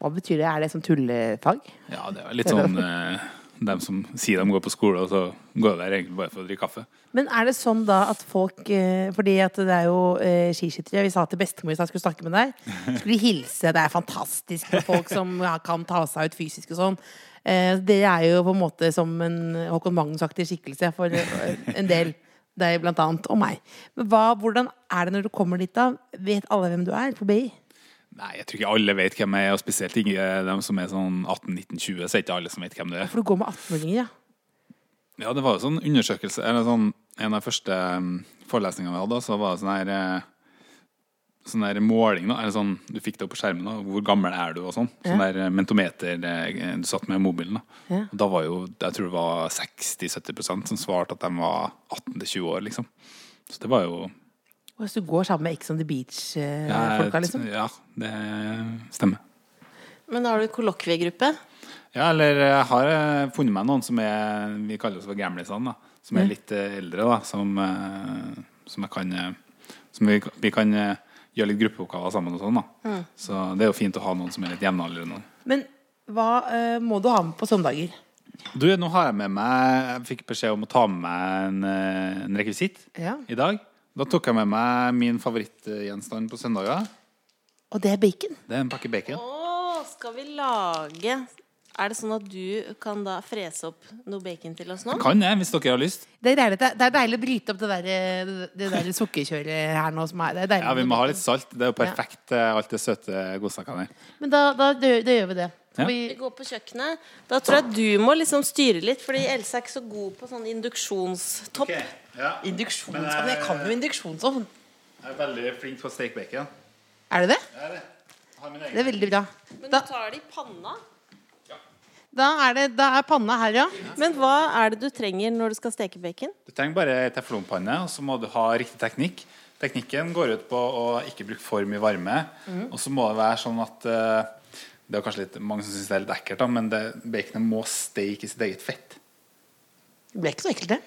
Speaker 3: Hva betyr det? Er det som tullefag?
Speaker 5: Ja, det er litt sånn eh, dem som sier de går på skole, og så går de der egentlig bare for å drikke kaffe.
Speaker 3: Men er det sånn da at folk eh, Fordi at det er jo eh, skiskyttere. Vi sa til bestemor i stad skulle snakke med deg. Skulle hilse. Det er fantastisk med folk som ja, kan ta seg ut fysisk og sånn. Eh, dere er jo på en måte som en Håkon Magnus-aktig skikkelse for eh, en del. Deg blant annet, og meg. Men hva, hvordan er det når du kommer dit, da? Vet alle hvem du er på BI?
Speaker 5: Nei, jeg tror ikke alle vet hvem jeg er, og spesielt ikke de som er sånn 18-19-20, så er ikke alle som vet hvem det er.
Speaker 3: For du går med 18-åringer, ja.
Speaker 5: Ja, det var jo sånn undersøkelse, eller sånn, en av de første mm, forelesningene vi hadde, så var det sånn her, eh, sånn her måling da, eller sånn, du fikk det opp på skjermen da, hvor gammel er du og sånn, sånn der eh, mentometer eh, du satt med mobilen da.
Speaker 3: Ja.
Speaker 5: Og da var jo, jeg tror det var 60-70 prosent som svarte at de var 18-20 år liksom. Så det var jo
Speaker 3: Og hvis du går sammen med Ex on the
Speaker 5: Ja,
Speaker 3: Beach-folka, liksom.
Speaker 5: eh, Ja, det stemmer.
Speaker 2: Men har du kollokviegruppe?
Speaker 5: Ja, eller jeg har eh, funnet meg noen som er Vi kaller oss for gamlisene, da. Som er litt eh, eldre, da. Som, eh, som jeg kan eh, Som vi, vi kan eh, gjøre litt gruppeoppgaver sammen og sånn, da. Så det er jo fint å ha noen som er litt jevnaldrende.
Speaker 3: Men hva eh, må du ha med på søndager?
Speaker 5: Du, nå har jeg med meg Jeg fikk beskjed om å ta med meg en, eh, en rekvisitt
Speaker 3: Ja.
Speaker 5: i dag. Da tok jeg med meg min favorittgjenstand på søndager.
Speaker 3: Og det er bacon.
Speaker 5: Det er en pakke bacon.
Speaker 2: Å, skal vi lage Er det sånn at du kan da frese opp noe bacon til oss nå?
Speaker 5: Kan jeg, hvis dere har lyst.
Speaker 3: Det er, deilig, at det det er deilig å bryte opp det der, det der sukkerkjøret her nå. Som er, det er deilig.
Speaker 5: Ja, vi må ha litt salt. Det er jo perfekt, eh, alt det søte godsakene her.
Speaker 3: Men da, da, da, gjør- da gjør vi det.
Speaker 5: Ja.
Speaker 3: Skal vi,
Speaker 2: Vi går på kjøkkenet. Da tror jeg du må liksom styre litt, fordi Else er ikke så god på sånn induksjonstopp.
Speaker 3: induksjonsovn? Jeg kan jo induksjonsovn.
Speaker 5: Jeg er veldig flink på å steke bacon.
Speaker 3: Er det det?
Speaker 5: Jeg er det. Jeg har min egen.
Speaker 3: Det er veldig bra.
Speaker 2: Men du
Speaker 3: Da,
Speaker 2: tar det i panna.
Speaker 3: da, er, det, da er panna her, ja.
Speaker 2: Men hva er det du trenger når du skal steke bacon?
Speaker 5: Du trenger bare ei teflonpanne, og så må du ha riktig teknikk. Teknikken går ut på å ikke bruke for mye varme. Og så må det være sånn at eh, Det er kanskje litt, mange som syns det er litt ekkelt, da, men det, baconet må steke i sitt eget fett.
Speaker 3: Det ble ikke så ekkelt, det.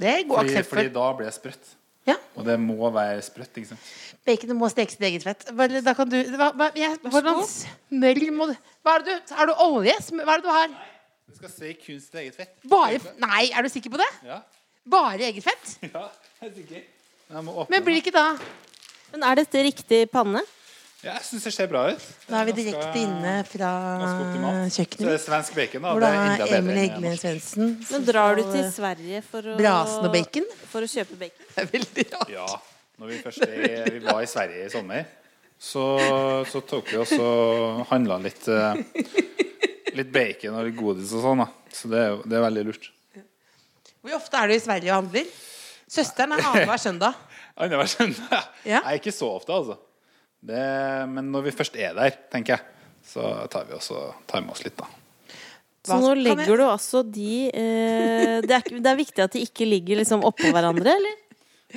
Speaker 3: Det er god
Speaker 5: Fordi,
Speaker 3: aksept
Speaker 5: fordi
Speaker 3: for.
Speaker 5: da blir det sprøtt.
Speaker 3: Ja,
Speaker 5: Og det må være sprøtt. ikke sant?
Speaker 3: Baconet må steke sitt eget fett. Bare, da kan du hva, hva, jeg, Hvordan smør må du Hva er det du Har du olje? Smør- Hva er det du har?
Speaker 5: Det skal steke kun sitt eget fett.
Speaker 3: Bare Nei, er du sikker på det?
Speaker 5: Ja,
Speaker 3: Bare eget fett?
Speaker 5: ja jeg er sikker. Jeg må åpne
Speaker 3: Men blir det ikke da
Speaker 2: Men er dette riktig panne?
Speaker 5: den. Ja, jeg syns det ser bra ut.
Speaker 3: Da er vi
Speaker 5: Ganske-
Speaker 3: direkte inne fra
Speaker 5: ganske optimalt. Så
Speaker 3: kjøkkenet.
Speaker 5: det er svensk bacon, da.
Speaker 3: Hvor
Speaker 5: Det
Speaker 3: da
Speaker 5: er enda bedre
Speaker 3: Emil
Speaker 5: enn
Speaker 3: Hegle
Speaker 5: norsk.
Speaker 3: Svendsen
Speaker 2: Men drar du til Sverige for å
Speaker 3: Brasen og bacon?
Speaker 2: For å kjøpe bacon?
Speaker 3: Det er veldig rart.
Speaker 5: Ja. Når vi først er, vi var i Sverige i sommer, så, så tok vi oss og handla litt eh, Litt bacon og litt godis og sånn. da Så det er, jo- det er veldig lurt.
Speaker 3: Hvor ofte er du i Sverige og handler? Søsteren er annenhver søndag.
Speaker 5: Annenhver søndag?
Speaker 3: Ja.
Speaker 5: Nei, ikke så ofte, altså. Det, men når vi først er der, tenker jeg, så tar vi oss og tar med oss litt, da.
Speaker 2: Så nå legger du altså de eh, det, er, ikke- det er viktig at de ikke ligger liksom oppå hverandre, eller?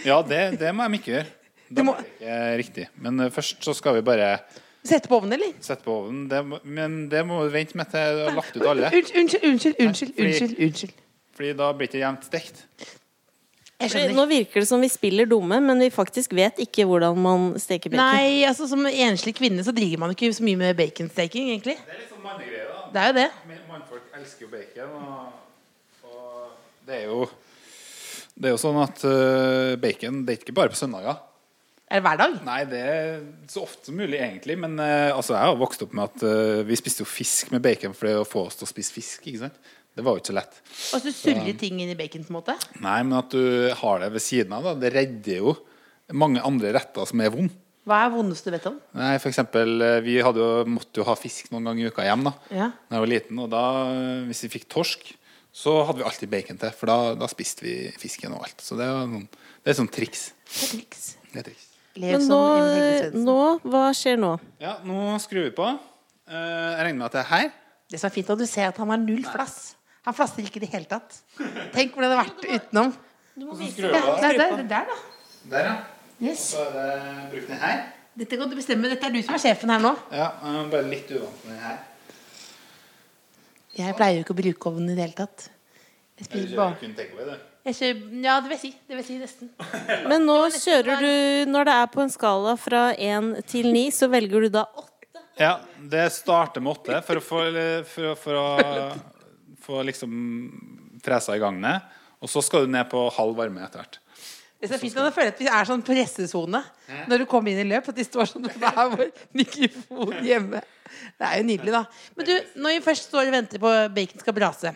Speaker 5: Ja, det, det må de ikke gjøre. Det
Speaker 3: Du må
Speaker 5: er ikke riktig. Men eh, først så skal vi bare
Speaker 3: sette på ovnen, eller?
Speaker 5: sette på ovnen. Det, må- men det må vi vente med til du har lagt ut alle.
Speaker 3: Unnskyld, unnskyld, unnskyld. unnskyld,
Speaker 5: fordi-
Speaker 3: unnskyld, unnskyld.
Speaker 5: Fordi da blir det ikke jevnt stekt.
Speaker 3: Jeg
Speaker 2: Fordi
Speaker 3: skjønner.
Speaker 2: Nå virker det som vi spiller dumme, men vi faktisk vet ikke hvordan man steker bacon.
Speaker 3: Nei, altså som enslig kvinne så driver man ikke så mye med baconsteking, egentlig.
Speaker 5: Det er litt sånn mannegreie, da.
Speaker 3: Det er jo det.
Speaker 5: Men Mannfolk elsker jo bacon, og, og det er jo Det er jo sånn at eh, bacon det er ikke bare på søndager.
Speaker 3: Er det hver dag?
Speaker 5: Nei, det er så ofte som mulig, egentlig. Men eh, altså, jeg har vokst opp med at eh, vi spiste jo fisk med bacon for det å få oss til å spise fisk. ikke sant? Det var jo ikke så lett.
Speaker 3: Og så surrer ting inn i bacon, på en måte?
Speaker 5: Nei, men at du har det ved siden av, da, det redder jo mange andre retter som er vonde.
Speaker 3: Hva er det vondeste du vet om?
Speaker 5: Nei, for eksempel, eh, vi hadde jo, måtte jo ha fisk noen ganger i uka hjem da
Speaker 3: Ja.
Speaker 5: Når jeg var liten, og da, eh, hvis vi fikk torsk Så hadde vi alltid bacon til, for da, da spiste vi fisken og alt Så det, var noen, det er sånn triks,
Speaker 3: Det er triks.
Speaker 5: det er triks
Speaker 3: Lev
Speaker 2: Men
Speaker 3: som
Speaker 2: nå,
Speaker 3: Emil Hegle Svendsen.
Speaker 2: nå Hva skjer nå?
Speaker 5: Ja, nå skrur vi på Eh, Jeg regner med at det er her
Speaker 3: Det som er fint, er at du ser at han har null flass. Han flasser ikke i det hele tatt. Tenk hvordan det hadde vært utenom. Ja, det er der, det er der, da.
Speaker 5: Der ja,
Speaker 3: Yes.
Speaker 5: så er det brukt den her
Speaker 3: Dette kan du bestemme. Dette er du som er sjefen her nå.
Speaker 5: Ja, eh, bare litt uvant med den her
Speaker 3: Jeg pleier jo ikke å bruke ovnen i det hele tatt. Jeg
Speaker 5: Eller
Speaker 3: spiser
Speaker 5: kjører
Speaker 3: bare
Speaker 5: vi kun takeaway, du?
Speaker 3: jeg kjører, Ja, det vil jeg si. Det vil jeg si nesten.
Speaker 2: Men nå kjører du Når det er på en skala fra én til ni, så velger du da åtte.
Speaker 5: Ja, det starter med åtte for å få, for, å- for å, få liksom fresa i gangene. Og så skal du ned på halv varme etter hvert.
Speaker 3: Det som er fint, er at jeg føler at vi er sånn pressesone når du kommer inn i løp. At de står sånn Det er vår mikrofon hjemme. Det er jo nydelig, da. Men du, når vi først står og venter på bacon skal brase,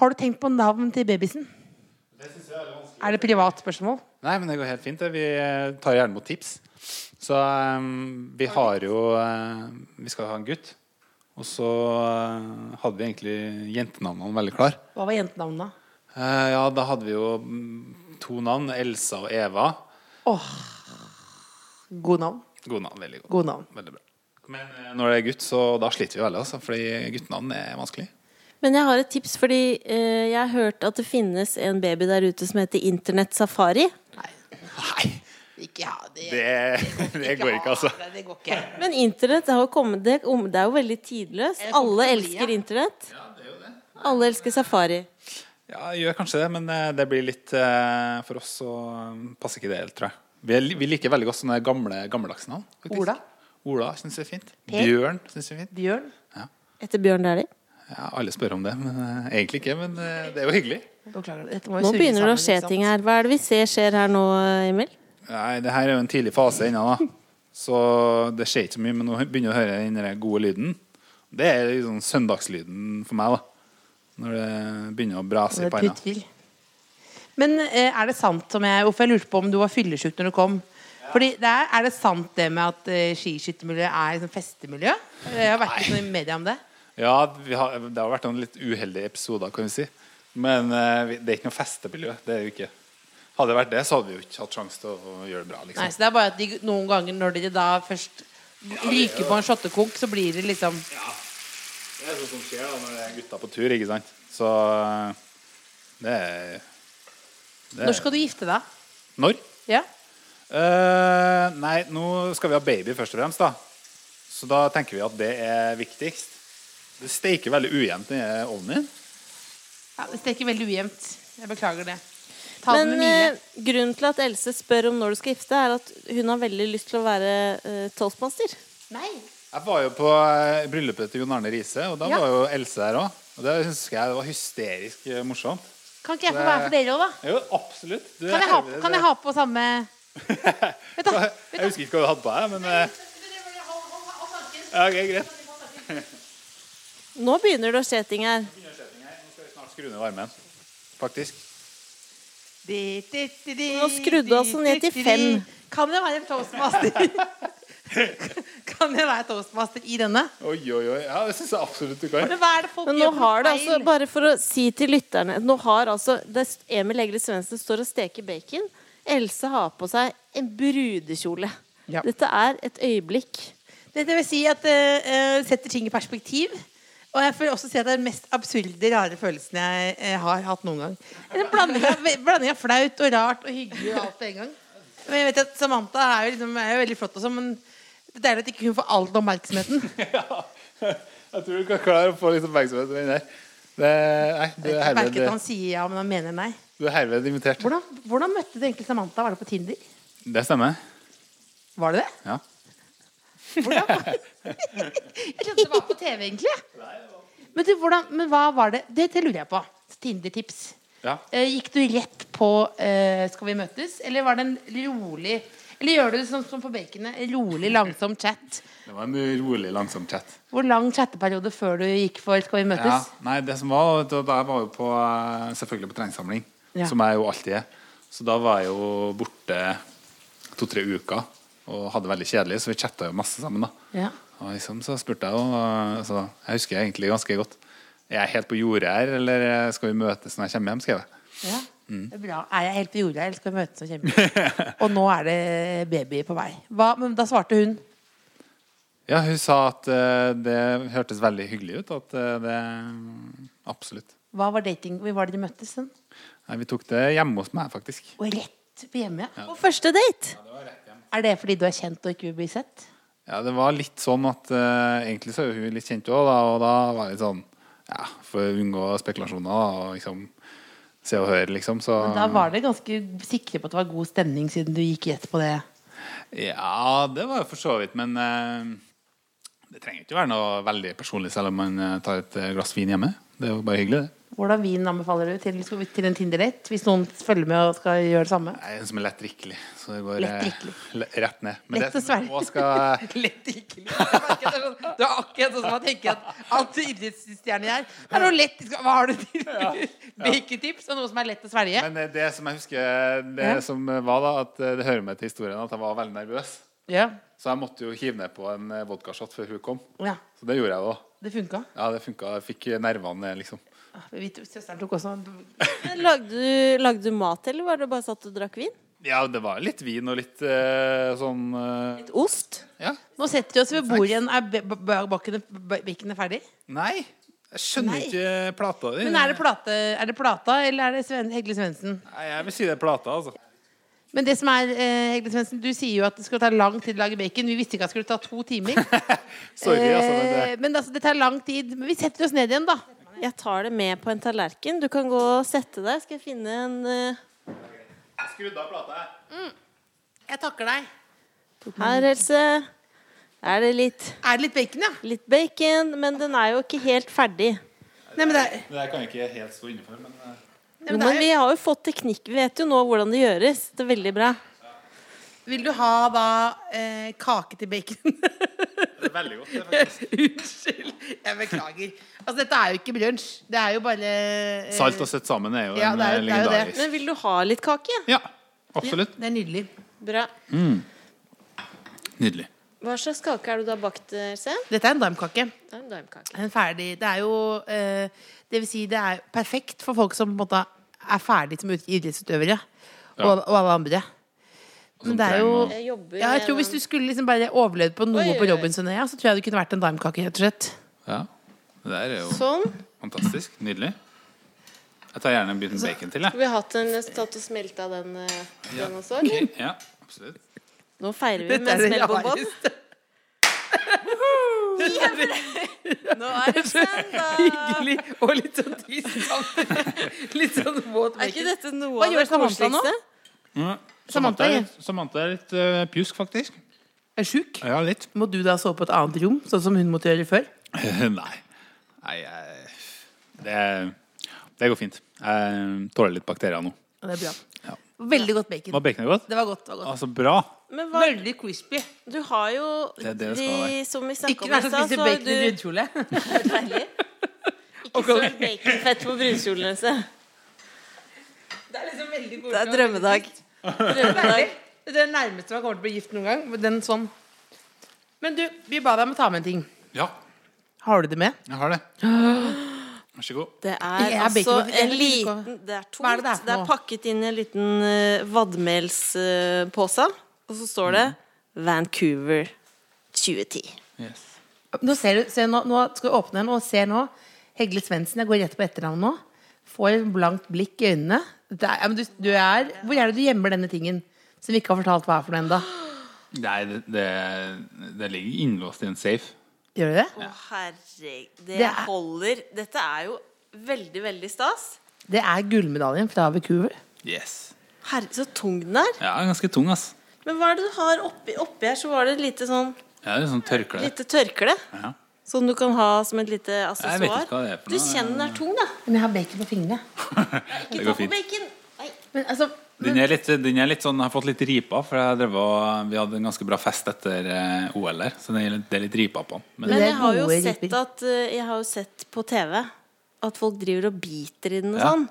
Speaker 3: har du tenkt på navn til babysen? Er det privat spørsmål?
Speaker 5: Nei, men det går helt fint. det. Vi eh, tar gjerne imot tips. Så eh, vi har jo eh, Vi skal ha en gutt. Og så eh, hadde vi egentlig jentenavnene veldig klar.
Speaker 3: Hva var jentenavnet? da?
Speaker 5: Eh, Ja, da hadde vi jo mm, to navn. Elsa og Eva.
Speaker 3: God navn.
Speaker 5: Gode navn. Veldig gode.
Speaker 3: God navn.
Speaker 5: Veldig bra. Men eh, når det er gutt, så da sliter vi veldig, altså. Fordi guttenavn er vanskelig.
Speaker 2: Men jeg har et tips, fordi eh, jeg har hørt at det finnes en baby der ute som heter Internett Safari.
Speaker 3: Nei.
Speaker 5: Nei,
Speaker 3: Ikke ha det.
Speaker 5: det, det går ikke, altså.
Speaker 3: Nei, Det går ikke.
Speaker 2: Men internett har jo kommet det, om- det er jo veldig tidløst.
Speaker 3: Jeg kommer
Speaker 2: Alle
Speaker 3: til å bli,
Speaker 2: elsker
Speaker 3: ja.
Speaker 2: internett. Alle elsker safari.
Speaker 5: Ja, jeg gjør kanskje det, men eh, det blir litt eh, For oss så eh, passer ikke det helt, tror jeg. Vi, er, li- vi liker veldig godt sånne gamle, gammeldagse navn. faktisk.
Speaker 3: Ola.
Speaker 5: Ola syns vi er fint.
Speaker 3: Per.
Speaker 5: Bjørn syns vi er fint.
Speaker 3: Bjørn.
Speaker 2: Etter Bjørn Dæhlie.
Speaker 5: Ja, alle spør om det, men eh, egentlig ikke. Men eh, det er jo hyggelig.
Speaker 3: Nå klarer du- dette må jo
Speaker 2: Nå
Speaker 3: surre
Speaker 2: begynner det å skje
Speaker 3: sammen, liksom. ikke
Speaker 2: ting
Speaker 3: sant?
Speaker 2: her. Hva er det vi ser skjer her nå, Emil?
Speaker 5: Nei, det her er jo en tidlig fase ennå, da. Så det skjer ikke så mye. Men nå begynner jeg å høre den der gode lyden. Det er liksom søndagslyden for meg, da. Når det begynner å brase
Speaker 3: Det
Speaker 5: i
Speaker 3: er
Speaker 5: panna.
Speaker 3: puttvill. Eh, Men eh, er det sant som jeg Hvorfor jeg lurte på om du var fyllesyk når du kom? Fordi det er, er det sant det med at eh, skiskyttermiljø er liksom festemiljø? Jeg har vært litt sånn i media om det.
Speaker 5: Ja, vi har, det har vært noen litt uheldige episoder, kan vi si. Men eh, vi- det er ikke noe festemiljø. Det er jo ikke. Hadde det vært det, så hadde vi jo ikke hatt sjanse til å gjøre det bra. Liksom.
Speaker 3: Nei, så det er bare at de, noen ganger når de da først ryker på en shottekonk, så blir det liksom
Speaker 5: Det er sånn som skjer da når det er gutta på tur, ikke sant. Så eh, det er det er-
Speaker 3: Når skal du gifte deg?
Speaker 5: Når?
Speaker 3: Ja?
Speaker 5: Eh, nei, nå skal vi ha baby først og fremst, da. Så da tenker vi at det er viktigst. Det steiker veldig ujevnt i ovnen din.
Speaker 3: ja det steker veldig ujevnt. Jeg beklager det. Ta det
Speaker 2: Men
Speaker 3: med Mile.
Speaker 2: eh, grunnen til at Else spør om når du skal gifte deg, er at hun har veldig lyst til å være eh, toastmaster.
Speaker 3: Nei.
Speaker 5: Jeg var jo på eh, bryllupet til Jon Arne Riise, og da
Speaker 3: Ja.
Speaker 5: var jo Else der òg. Og det husker jeg var hysterisk eh, morsomt.
Speaker 3: Kan ikke jeg få være for dere òg, da?
Speaker 5: Jo, absolutt. Du,
Speaker 3: Kan jeg ha, kan jeg ha på samme Vent, da.
Speaker 5: Jeg husker ikke hva du hadde på deg, men eh, ja, ok, greit.
Speaker 2: Nå begynner det å skje ting her.
Speaker 5: Nå skal vi snart skru ned varmen. Faktisk.
Speaker 3: Nå
Speaker 2: Nå skrudde du altså ned til fem.
Speaker 3: Kan jeg være toastmaster? kan jeg være toastmaster i denne?
Speaker 5: Oi, oi, oi. Ja, det syns jeg absolutt du kan.
Speaker 3: Men hva er det folk
Speaker 2: Men nå
Speaker 3: for
Speaker 2: har det altså,
Speaker 3: feil?
Speaker 2: bare for å si til lytterne Nå har altså det er Emil Egle Svendsen står og steker bacon. Else har på seg en brudekjole.
Speaker 3: Ja.
Speaker 2: Dette er et øyeblikk.
Speaker 3: Dette vil si at det setter ting i perspektiv. Og jeg føler også si at det er den mest absurde, rare følelsen jeg eh, har hatt noen gang. En blanding av, blanding av flaut og rart og hyggelig og alt på en gang. Men jeg vet at Samantha er jo, liksom, er jo veldig flott også, men det er deilig at ikke hun får all oppmerksomheten.
Speaker 5: Jeg tror du kan klare å få litt oppmerksomhet med den der. Det, nei, du er
Speaker 3: Merket at han
Speaker 5: herved,
Speaker 3: sier ja, men han mener nei.
Speaker 5: du er herved invitert.
Speaker 3: Hvordan, hvordan møtte du egentlig Samantha? Var det på Tinder?
Speaker 5: Det stemmer.
Speaker 3: Var det det?
Speaker 5: Ja.
Speaker 3: Jeg trodde det var på TV, egentlig. Men, du, hvordan, men hva var det? Det, det lurer jeg på. Tinder-tips.
Speaker 5: Ja.
Speaker 3: Eh, Gikk du rett på eh, 'Skal vi møtes', eller var det en rolig Eller gjør du det sånn som på baconet? en Rolig, langsom chat.
Speaker 5: Det var en rolig, langsom chat.
Speaker 3: Hvor lang chatteperiode før du gikk for 'Skal vi
Speaker 5: Ja.
Speaker 3: møtes'?
Speaker 5: Nei, det som var, vet du, da jeg var jo på, eh, selvfølgelig på treningssamling,
Speaker 3: Ja.
Speaker 5: som jeg jo alltid er. Så da var jeg jo borte to-tre uker og hadde det veldig kjedelig, så vi chatta jo masse sammen. da.
Speaker 3: Ja.
Speaker 5: Og liksom så spurte jeg jo, eh, så jeg husker egentlig ganske godt. Er jeg helt på jordet her, eller eh, skal vi møtes når jeg kommer hjem? skrev jeg.
Speaker 3: Ja. Det er bra. Er jeg helt på jordet, eller skal vi møtes og kjempe? og nå er det baby på vei. Hva, men da svarte hun.
Speaker 5: Ja, hun sa at eh, det hørtes veldig hyggelig ut. At eh, det Absolutt.
Speaker 3: Hva var dating? Hvor var det de møttes? Sånn?
Speaker 5: Nei, vi tok det hjemme hos meg, faktisk.
Speaker 3: Og rett på hjemme, ja.
Speaker 2: På første date?
Speaker 3: Er det fordi du er kjent og ikke vil bli sett?
Speaker 5: Ja, det var litt sånn at eh, Egentlig så er jo hun litt kjent òg, da, og da var det litt sånn Ja, for å unngå spekulasjoner da, og liksom se og høre, liksom, så
Speaker 3: Men da var dere ganske sikre på at det var god stemning, siden du gikk rett på det.
Speaker 5: Ja, det var jo for så vidt, men eh, det trenger jo ikke være noe veldig personlig selv om man eh, tar et eh, glass vin hjemme. Det er jo bare hyggelig, det.
Speaker 3: Hvordan vin anbefaler du til, til en Tinder-date? Hvis noen følger med og skal gjøre det samme?
Speaker 5: Nei, en som er lett drikkelig. Så det går eh,
Speaker 3: Lett drikkelig.
Speaker 5: le- rett ned. Men
Speaker 3: Lett
Speaker 5: det
Speaker 3: å
Speaker 5: som
Speaker 3: svelge.
Speaker 5: også skal
Speaker 3: Lett drikkelig. Jeg merker at det er sånn- Du er akkurat sånn som man tenker at alt idrettsstjerner gjør. Det er noe lett Hva har du til bacontips? Og noe som er lett å svelge?
Speaker 5: Men eh, det som jeg husker Det
Speaker 3: Ja.
Speaker 5: som var da At eh, det hører med til historien At jeg var veldig nervøs
Speaker 3: Ja.
Speaker 5: Så jeg måtte jo hive ned på en eh, vodkashot Før hun kom
Speaker 3: ja.
Speaker 5: Så det gjorde jeg da
Speaker 3: Det funka.
Speaker 5: Ja, det funket Jeg fikk eh, nervene ned, liksom
Speaker 3: Vi to- Søsteren tok også en
Speaker 2: Men Lagde du, lagde du mat, eller var det bare satt og drakk vin?
Speaker 5: Ja, det var litt vin og litt eh, sånn eh,
Speaker 2: Litt ost?
Speaker 5: Ja
Speaker 3: Nå setter vi oss ved bordet igjen. Er be- be- be- bakken- be- bekken er ferdig?
Speaker 5: Nei Jeg skjønner
Speaker 3: Nei.
Speaker 5: ikke plata di
Speaker 3: Men er det, plate, er det plata, eller er det Sven, Hegle Svendsen?
Speaker 5: Nei, jeg vil si det er plata, altså
Speaker 3: Men det som er, eh, Hegle Svendsen, du sier jo at det skulle ta lang tid å lage bacon. Vi visste ikke at det skulle ta to timer.
Speaker 5: Sorry, altså men
Speaker 3: Eh, men altså, det tar lang tid. Men vi setter oss ned igjen, da.
Speaker 2: Jeg tar det med på en tallerken. Du kan gå og sette deg. Skal jeg finne en eh,
Speaker 5: det Skrudd av plata her
Speaker 3: Jeg takker deg.
Speaker 2: Her, Else. Er det litt,
Speaker 3: Er det litt bacon, ja?
Speaker 2: litt bacon? Men den er jo ikke helt ferdig.
Speaker 3: Nei, men det er,
Speaker 5: Det der kan jeg ikke helt stå innenfor Men eh,
Speaker 3: nei,
Speaker 2: Jo,
Speaker 3: men det
Speaker 2: men
Speaker 3: er
Speaker 2: vi har jo fått teknikk. Vi vet jo nå hvordan det gjøres. Det er veldig bra.
Speaker 3: Vil du ha da eh, kake til bacon?
Speaker 5: det er veldig godt det, faktisk.
Speaker 3: Unnskyld. Jeg beklager. Altså, dette er jo ikke brunsj. Det er jo bare eh,
Speaker 5: Salt og søtt sammen er jo
Speaker 3: Ja,
Speaker 5: en
Speaker 3: det er- det er
Speaker 5: eh,
Speaker 3: jo det.
Speaker 5: legendarisk
Speaker 2: Men vil du ha litt kake?
Speaker 5: Ja, absolutt
Speaker 3: Det er nydelig.
Speaker 2: Bra.
Speaker 5: Nydelig
Speaker 2: Hva slags kake er det du har bakt, Else?
Speaker 3: Dette er en daimkake.
Speaker 2: Det er en daimkake.
Speaker 3: en ferdig Det er jo eh, Det vil si, det er perfekt for folk som på en måte er ferdig som idrettsutøvere. Og, og alle andre.
Speaker 5: som
Speaker 3: Men det er
Speaker 5: trenger
Speaker 3: jo
Speaker 5: å-
Speaker 2: Jeg jobber
Speaker 3: ja, jeg tror
Speaker 2: med
Speaker 3: Hvis du skulle liksom bare overlevd på noe
Speaker 2: Oi, oi,
Speaker 3: på
Speaker 2: oi.
Speaker 3: Robinsonøya, så tror jeg du kunne vært en daimkake. rett og slett
Speaker 5: Ja, det der er jo
Speaker 2: Sånn.
Speaker 5: fantastisk. Nydelig. Jeg tar gjerne en bit med bacon til, jeg.
Speaker 2: Vi har hatt en tatt og smelta den, eh, den også. eller?
Speaker 5: Ok, Ja, absolutt.
Speaker 2: Nå feirer vi med smell på bånd. Nå er det søndag!
Speaker 3: Hyggelig og litt sånn tyst. litt sånn våt
Speaker 2: Er ikke
Speaker 3: bacon.
Speaker 2: dette noe
Speaker 3: Hva
Speaker 2: av
Speaker 3: gjør
Speaker 2: det
Speaker 3: Samantha nå?
Speaker 2: koseligste?
Speaker 5: Samantha er,
Speaker 3: Samantha,
Speaker 5: litt- Samantha er litt eh, pjusk, faktisk.
Speaker 3: Er sjuk?
Speaker 5: Ja, litt.
Speaker 3: Må du da sove på et annet rom, sånn som hun måtte gjøre før?
Speaker 5: Nei. Nei, jeg det, det går fint. Jeg tåler litt bakterier nå.
Speaker 3: Og det er bra. Veldig godt bacon.
Speaker 5: Var baconet godt?
Speaker 3: Det var godt. Det var godt.
Speaker 5: Altså, bra.
Speaker 2: Men hva,
Speaker 3: Veldig crispy.
Speaker 2: du har jo
Speaker 5: Det er det det skal
Speaker 2: vi,
Speaker 5: være.
Speaker 2: Som vi
Speaker 3: Ikke
Speaker 2: snakka om
Speaker 3: vær
Speaker 2: i
Speaker 3: sånn, så
Speaker 2: stad,
Speaker 3: spiser
Speaker 2: så har
Speaker 3: bacon i
Speaker 2: du
Speaker 3: rundkjole.
Speaker 2: Deilig. Ikke søl baconfett på brunkjolen, Else.
Speaker 3: Det er liksom veldig god
Speaker 2: Det er drømmedag. drømmedag.
Speaker 3: Det er det nærmeste man kommer til å bli gift noen gang. men Den sånn. Men du, vi ba deg om å ta med en ting.
Speaker 5: Ja,
Speaker 3: Har du det med?
Speaker 5: jeg har det. Vær så god.
Speaker 2: Det er
Speaker 3: Jeg er
Speaker 2: altså
Speaker 3: bacon-
Speaker 2: en
Speaker 3: jeg liker ikke å-
Speaker 2: liten Det er
Speaker 3: Hva er det
Speaker 2: tungt.
Speaker 3: det
Speaker 2: Det
Speaker 3: er for
Speaker 2: er
Speaker 3: noe?
Speaker 2: pakket inn i en liten uh, vadmelspose, og så står det Vancouver 2010.
Speaker 5: Yes.
Speaker 3: Nå, ser du, se, nå, nå skal vi åpne den og se nå. Hegle Svendsen, jeg går rett på etternavn nå. Får et blankt blikk i øynene. Det er, ja, men du, du er, hvor er det du gjemmer denne tingen? Som vi ikke har fortalt hva er for noe ennå.
Speaker 5: Nei, det, det, det ligger innlåst i en safe.
Speaker 3: Gjør du det?
Speaker 2: Å, herregud. Det,
Speaker 3: Det er-
Speaker 2: holder. Dette er jo veldig, veldig stas.
Speaker 3: Det er gullmedaljen fra Vancouver.
Speaker 5: Yes.
Speaker 2: Herre, så tung den er.
Speaker 5: Ja, den er ganske tung, ass.
Speaker 2: Men hva er det du har oppi, oppi her? Så var det et lite sånn
Speaker 5: Ja, det er sånn tørkle.
Speaker 2: lite tørkle.
Speaker 5: Ja.
Speaker 2: Som du kan ha som et lite aksessoar.
Speaker 5: Jeg vet ikke hva det er for
Speaker 2: Du
Speaker 5: noe.
Speaker 2: kjenner den er tung, da.
Speaker 3: Men jeg har bacon på fingrene.
Speaker 2: Ta
Speaker 5: Det går
Speaker 2: på
Speaker 5: fint.
Speaker 2: bacon. Nei.
Speaker 3: Men altså
Speaker 5: Den er litt, den er litt sånn, jeg har fått litt ripa, for jeg drev og, vi hadde en ganske bra fest etter eh, OL her. Så det er litt, det er litt ripa på den. Men
Speaker 2: Men
Speaker 3: det er
Speaker 2: jeg har jo
Speaker 3: gode
Speaker 2: sett
Speaker 3: ribber.
Speaker 2: at eh, Jeg har jo sett på TV at folk driver og biter i den og
Speaker 5: Ja.
Speaker 2: sånn.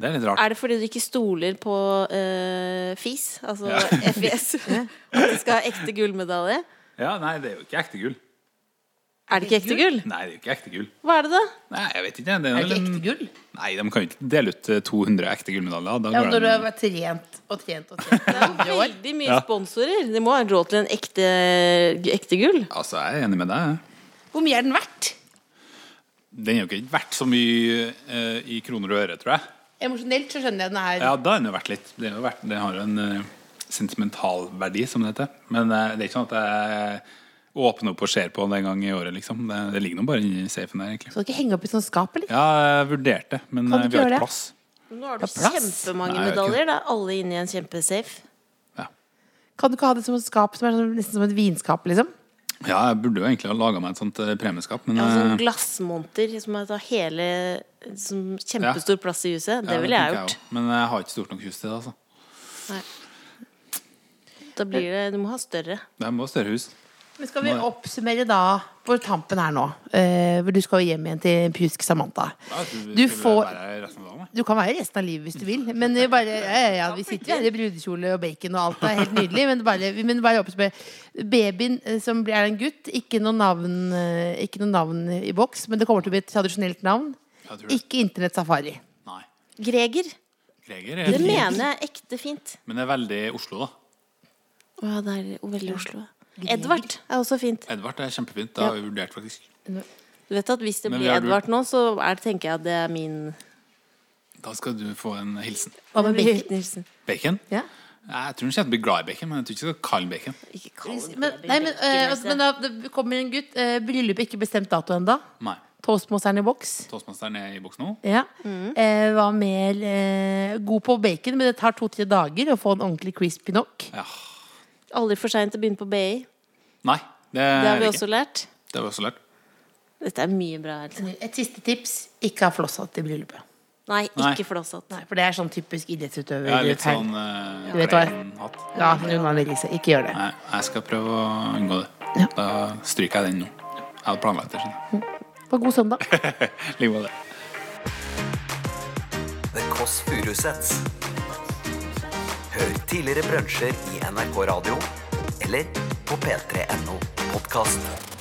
Speaker 5: det er litt rart.
Speaker 2: Er det fordi du ikke stoler på eh, FIS, altså FIS, at de skal ha ekte gullmedalje?
Speaker 5: Ja, nei, det er jo ikke ekte gull.
Speaker 2: Er det ikke ekte gull?
Speaker 5: Nei, det er jo ikke ekte gull.
Speaker 2: Hva er det, da?
Speaker 5: Nei, jeg vet ikke. Det
Speaker 3: Er det
Speaker 5: vel
Speaker 3: ikke
Speaker 5: en-
Speaker 3: ekte gull?
Speaker 5: Nei, de kan jo ikke dele ut eh, 200 ekte gullmedaljer. Da
Speaker 3: Ja,
Speaker 5: går
Speaker 3: når du
Speaker 5: de-
Speaker 3: har vært trent og trent og trent i 100 år.
Speaker 2: Veldig mye
Speaker 5: Ja.
Speaker 2: sponsorer. Det må ha råd til en ekte, ekte gull.
Speaker 5: Altså, jeg er enig med deg. jeg.
Speaker 3: Hvor mye er den verdt?
Speaker 5: Den er jo ikke verdt så mye eh, i kroner og øre, tror jeg.
Speaker 3: Emosjonelt så skjønner jeg den er
Speaker 5: Ja, da er den jo verdt litt. Den, er jo verdt, den har jo en eh, sentimental verdi, som det heter. Men eh, det er ikke sånn at jeg åpner opp og ser på den en gang i året, liksom. Det, det ligger nå bare inni safen der, egentlig.
Speaker 3: Skal du ikke henge opp i sånn skap, eller?
Speaker 5: Ja, jeg vurderte, men
Speaker 3: Kan du
Speaker 5: eh,
Speaker 3: ikke
Speaker 5: vi har
Speaker 3: gjøre
Speaker 5: ikke
Speaker 3: det?
Speaker 5: plass.
Speaker 2: Nå har du
Speaker 5: Det er plass.
Speaker 2: kjempemange
Speaker 5: Nei, jeg vet ikke.
Speaker 2: medaljer. Da er alle inne i en kjempesafe.
Speaker 5: Ja.
Speaker 3: Kan du ikke ha det som et skap som er sånn- nesten som et vinskap, liksom?
Speaker 5: ja, jeg burde jo egentlig ha laga meg et sånt eh, premieskap, men
Speaker 2: Ja, sånn
Speaker 5: eh,
Speaker 2: glassmonter som tar hele som Kjempestor plass i huset.
Speaker 5: ja,
Speaker 2: Det ville jeg
Speaker 5: tenker
Speaker 2: gjort.
Speaker 5: også. Men eh, jeg har ikke stort nok hus til det, altså.
Speaker 2: Da blir det, Du må ha større.
Speaker 5: Det må større hus.
Speaker 3: Men skal vi oppsummere da på tampen her nå? Eh, hvor du skal jo hjem igjen til pjusk Samantha.
Speaker 5: Ja, jeg tror vi
Speaker 3: Du
Speaker 5: skulle
Speaker 3: får-
Speaker 5: være her resten av dagen, jeg.
Speaker 3: Du kan være resten av livet hvis du vil. Men eh, bare, ja, ja, ja, vi sitter jo her i brudekjole og bacon og alt. Det er helt nydelig. Men bare, men bare oppsummere. Babyen eh, som blir- er en gutt, ikke noe navn, eh, ikke noe navn i boks, men det kommer til å bli et tradisjonelt navn.
Speaker 5: Jeg tror det.
Speaker 3: Ikke internettsafari.
Speaker 5: Nei.
Speaker 2: Greger.
Speaker 5: Greger er
Speaker 2: Det
Speaker 5: fint,
Speaker 2: mener jeg er ekte fint.
Speaker 5: men det er veldig Oslo, da.
Speaker 2: Å ja, det er veldig Oslo. Edvard er også fint.
Speaker 5: Edvard er kjempefint. Det har vi vurdert, faktisk.
Speaker 2: Du vet at Hvis det
Speaker 5: Men
Speaker 2: blir
Speaker 5: vi har-
Speaker 2: Edvard nå, så er, tenker jeg at det er min
Speaker 5: Da skal du få en hilsen.
Speaker 3: Hva med bacon?
Speaker 2: Hilsen.
Speaker 5: Bacon?
Speaker 3: Ja.
Speaker 5: Jeg tror hun kommer til å bli glad i bacon, men jeg tror ikke hun skal kalle den bacon.
Speaker 2: Ikke kall det
Speaker 3: Men, nei, men, eh, altså, men da det kommer en gutt. Eh, bryllup ikke bestemt dato ennå.
Speaker 5: Nei.
Speaker 3: Toastmasteren i boks.
Speaker 5: Toastmasteren er i boks nå.
Speaker 3: Ja. Eh, hva mer eh, God på bacon, men det tar to-tre dager å få en ordentlig crispy nok.
Speaker 5: Ja.
Speaker 2: Aldri for seint å begynne på BI.
Speaker 5: Nei, det,
Speaker 2: Det har vi
Speaker 5: er
Speaker 2: også lært.
Speaker 5: ikke. Det har vi også lært.
Speaker 2: Dette er mye bra. altså. Else.
Speaker 3: Et siste tips ikke ha flosshatt i bryllupet.
Speaker 2: Nei,
Speaker 5: Nei.
Speaker 2: ikke flosshatt.
Speaker 3: Nei, for det er sånn typisk idrettsutøver.
Speaker 5: Jeg er litt sånn
Speaker 3: Du vet hva jeg-
Speaker 5: hatt.
Speaker 3: Ja, undervannelse. Ikke gjør det.
Speaker 5: Nei, jeg skal prøve å unngå det.
Speaker 3: Ja.
Speaker 5: Da stryker jeg den nå. Jeg hadde planlagt det. skjønner du.
Speaker 3: Ha god søndag.
Speaker 5: Ligg med det.
Speaker 1: The Kåss Furuseths. Hør tidligere brunsjer i NRK Radio eller på p3.no podkast.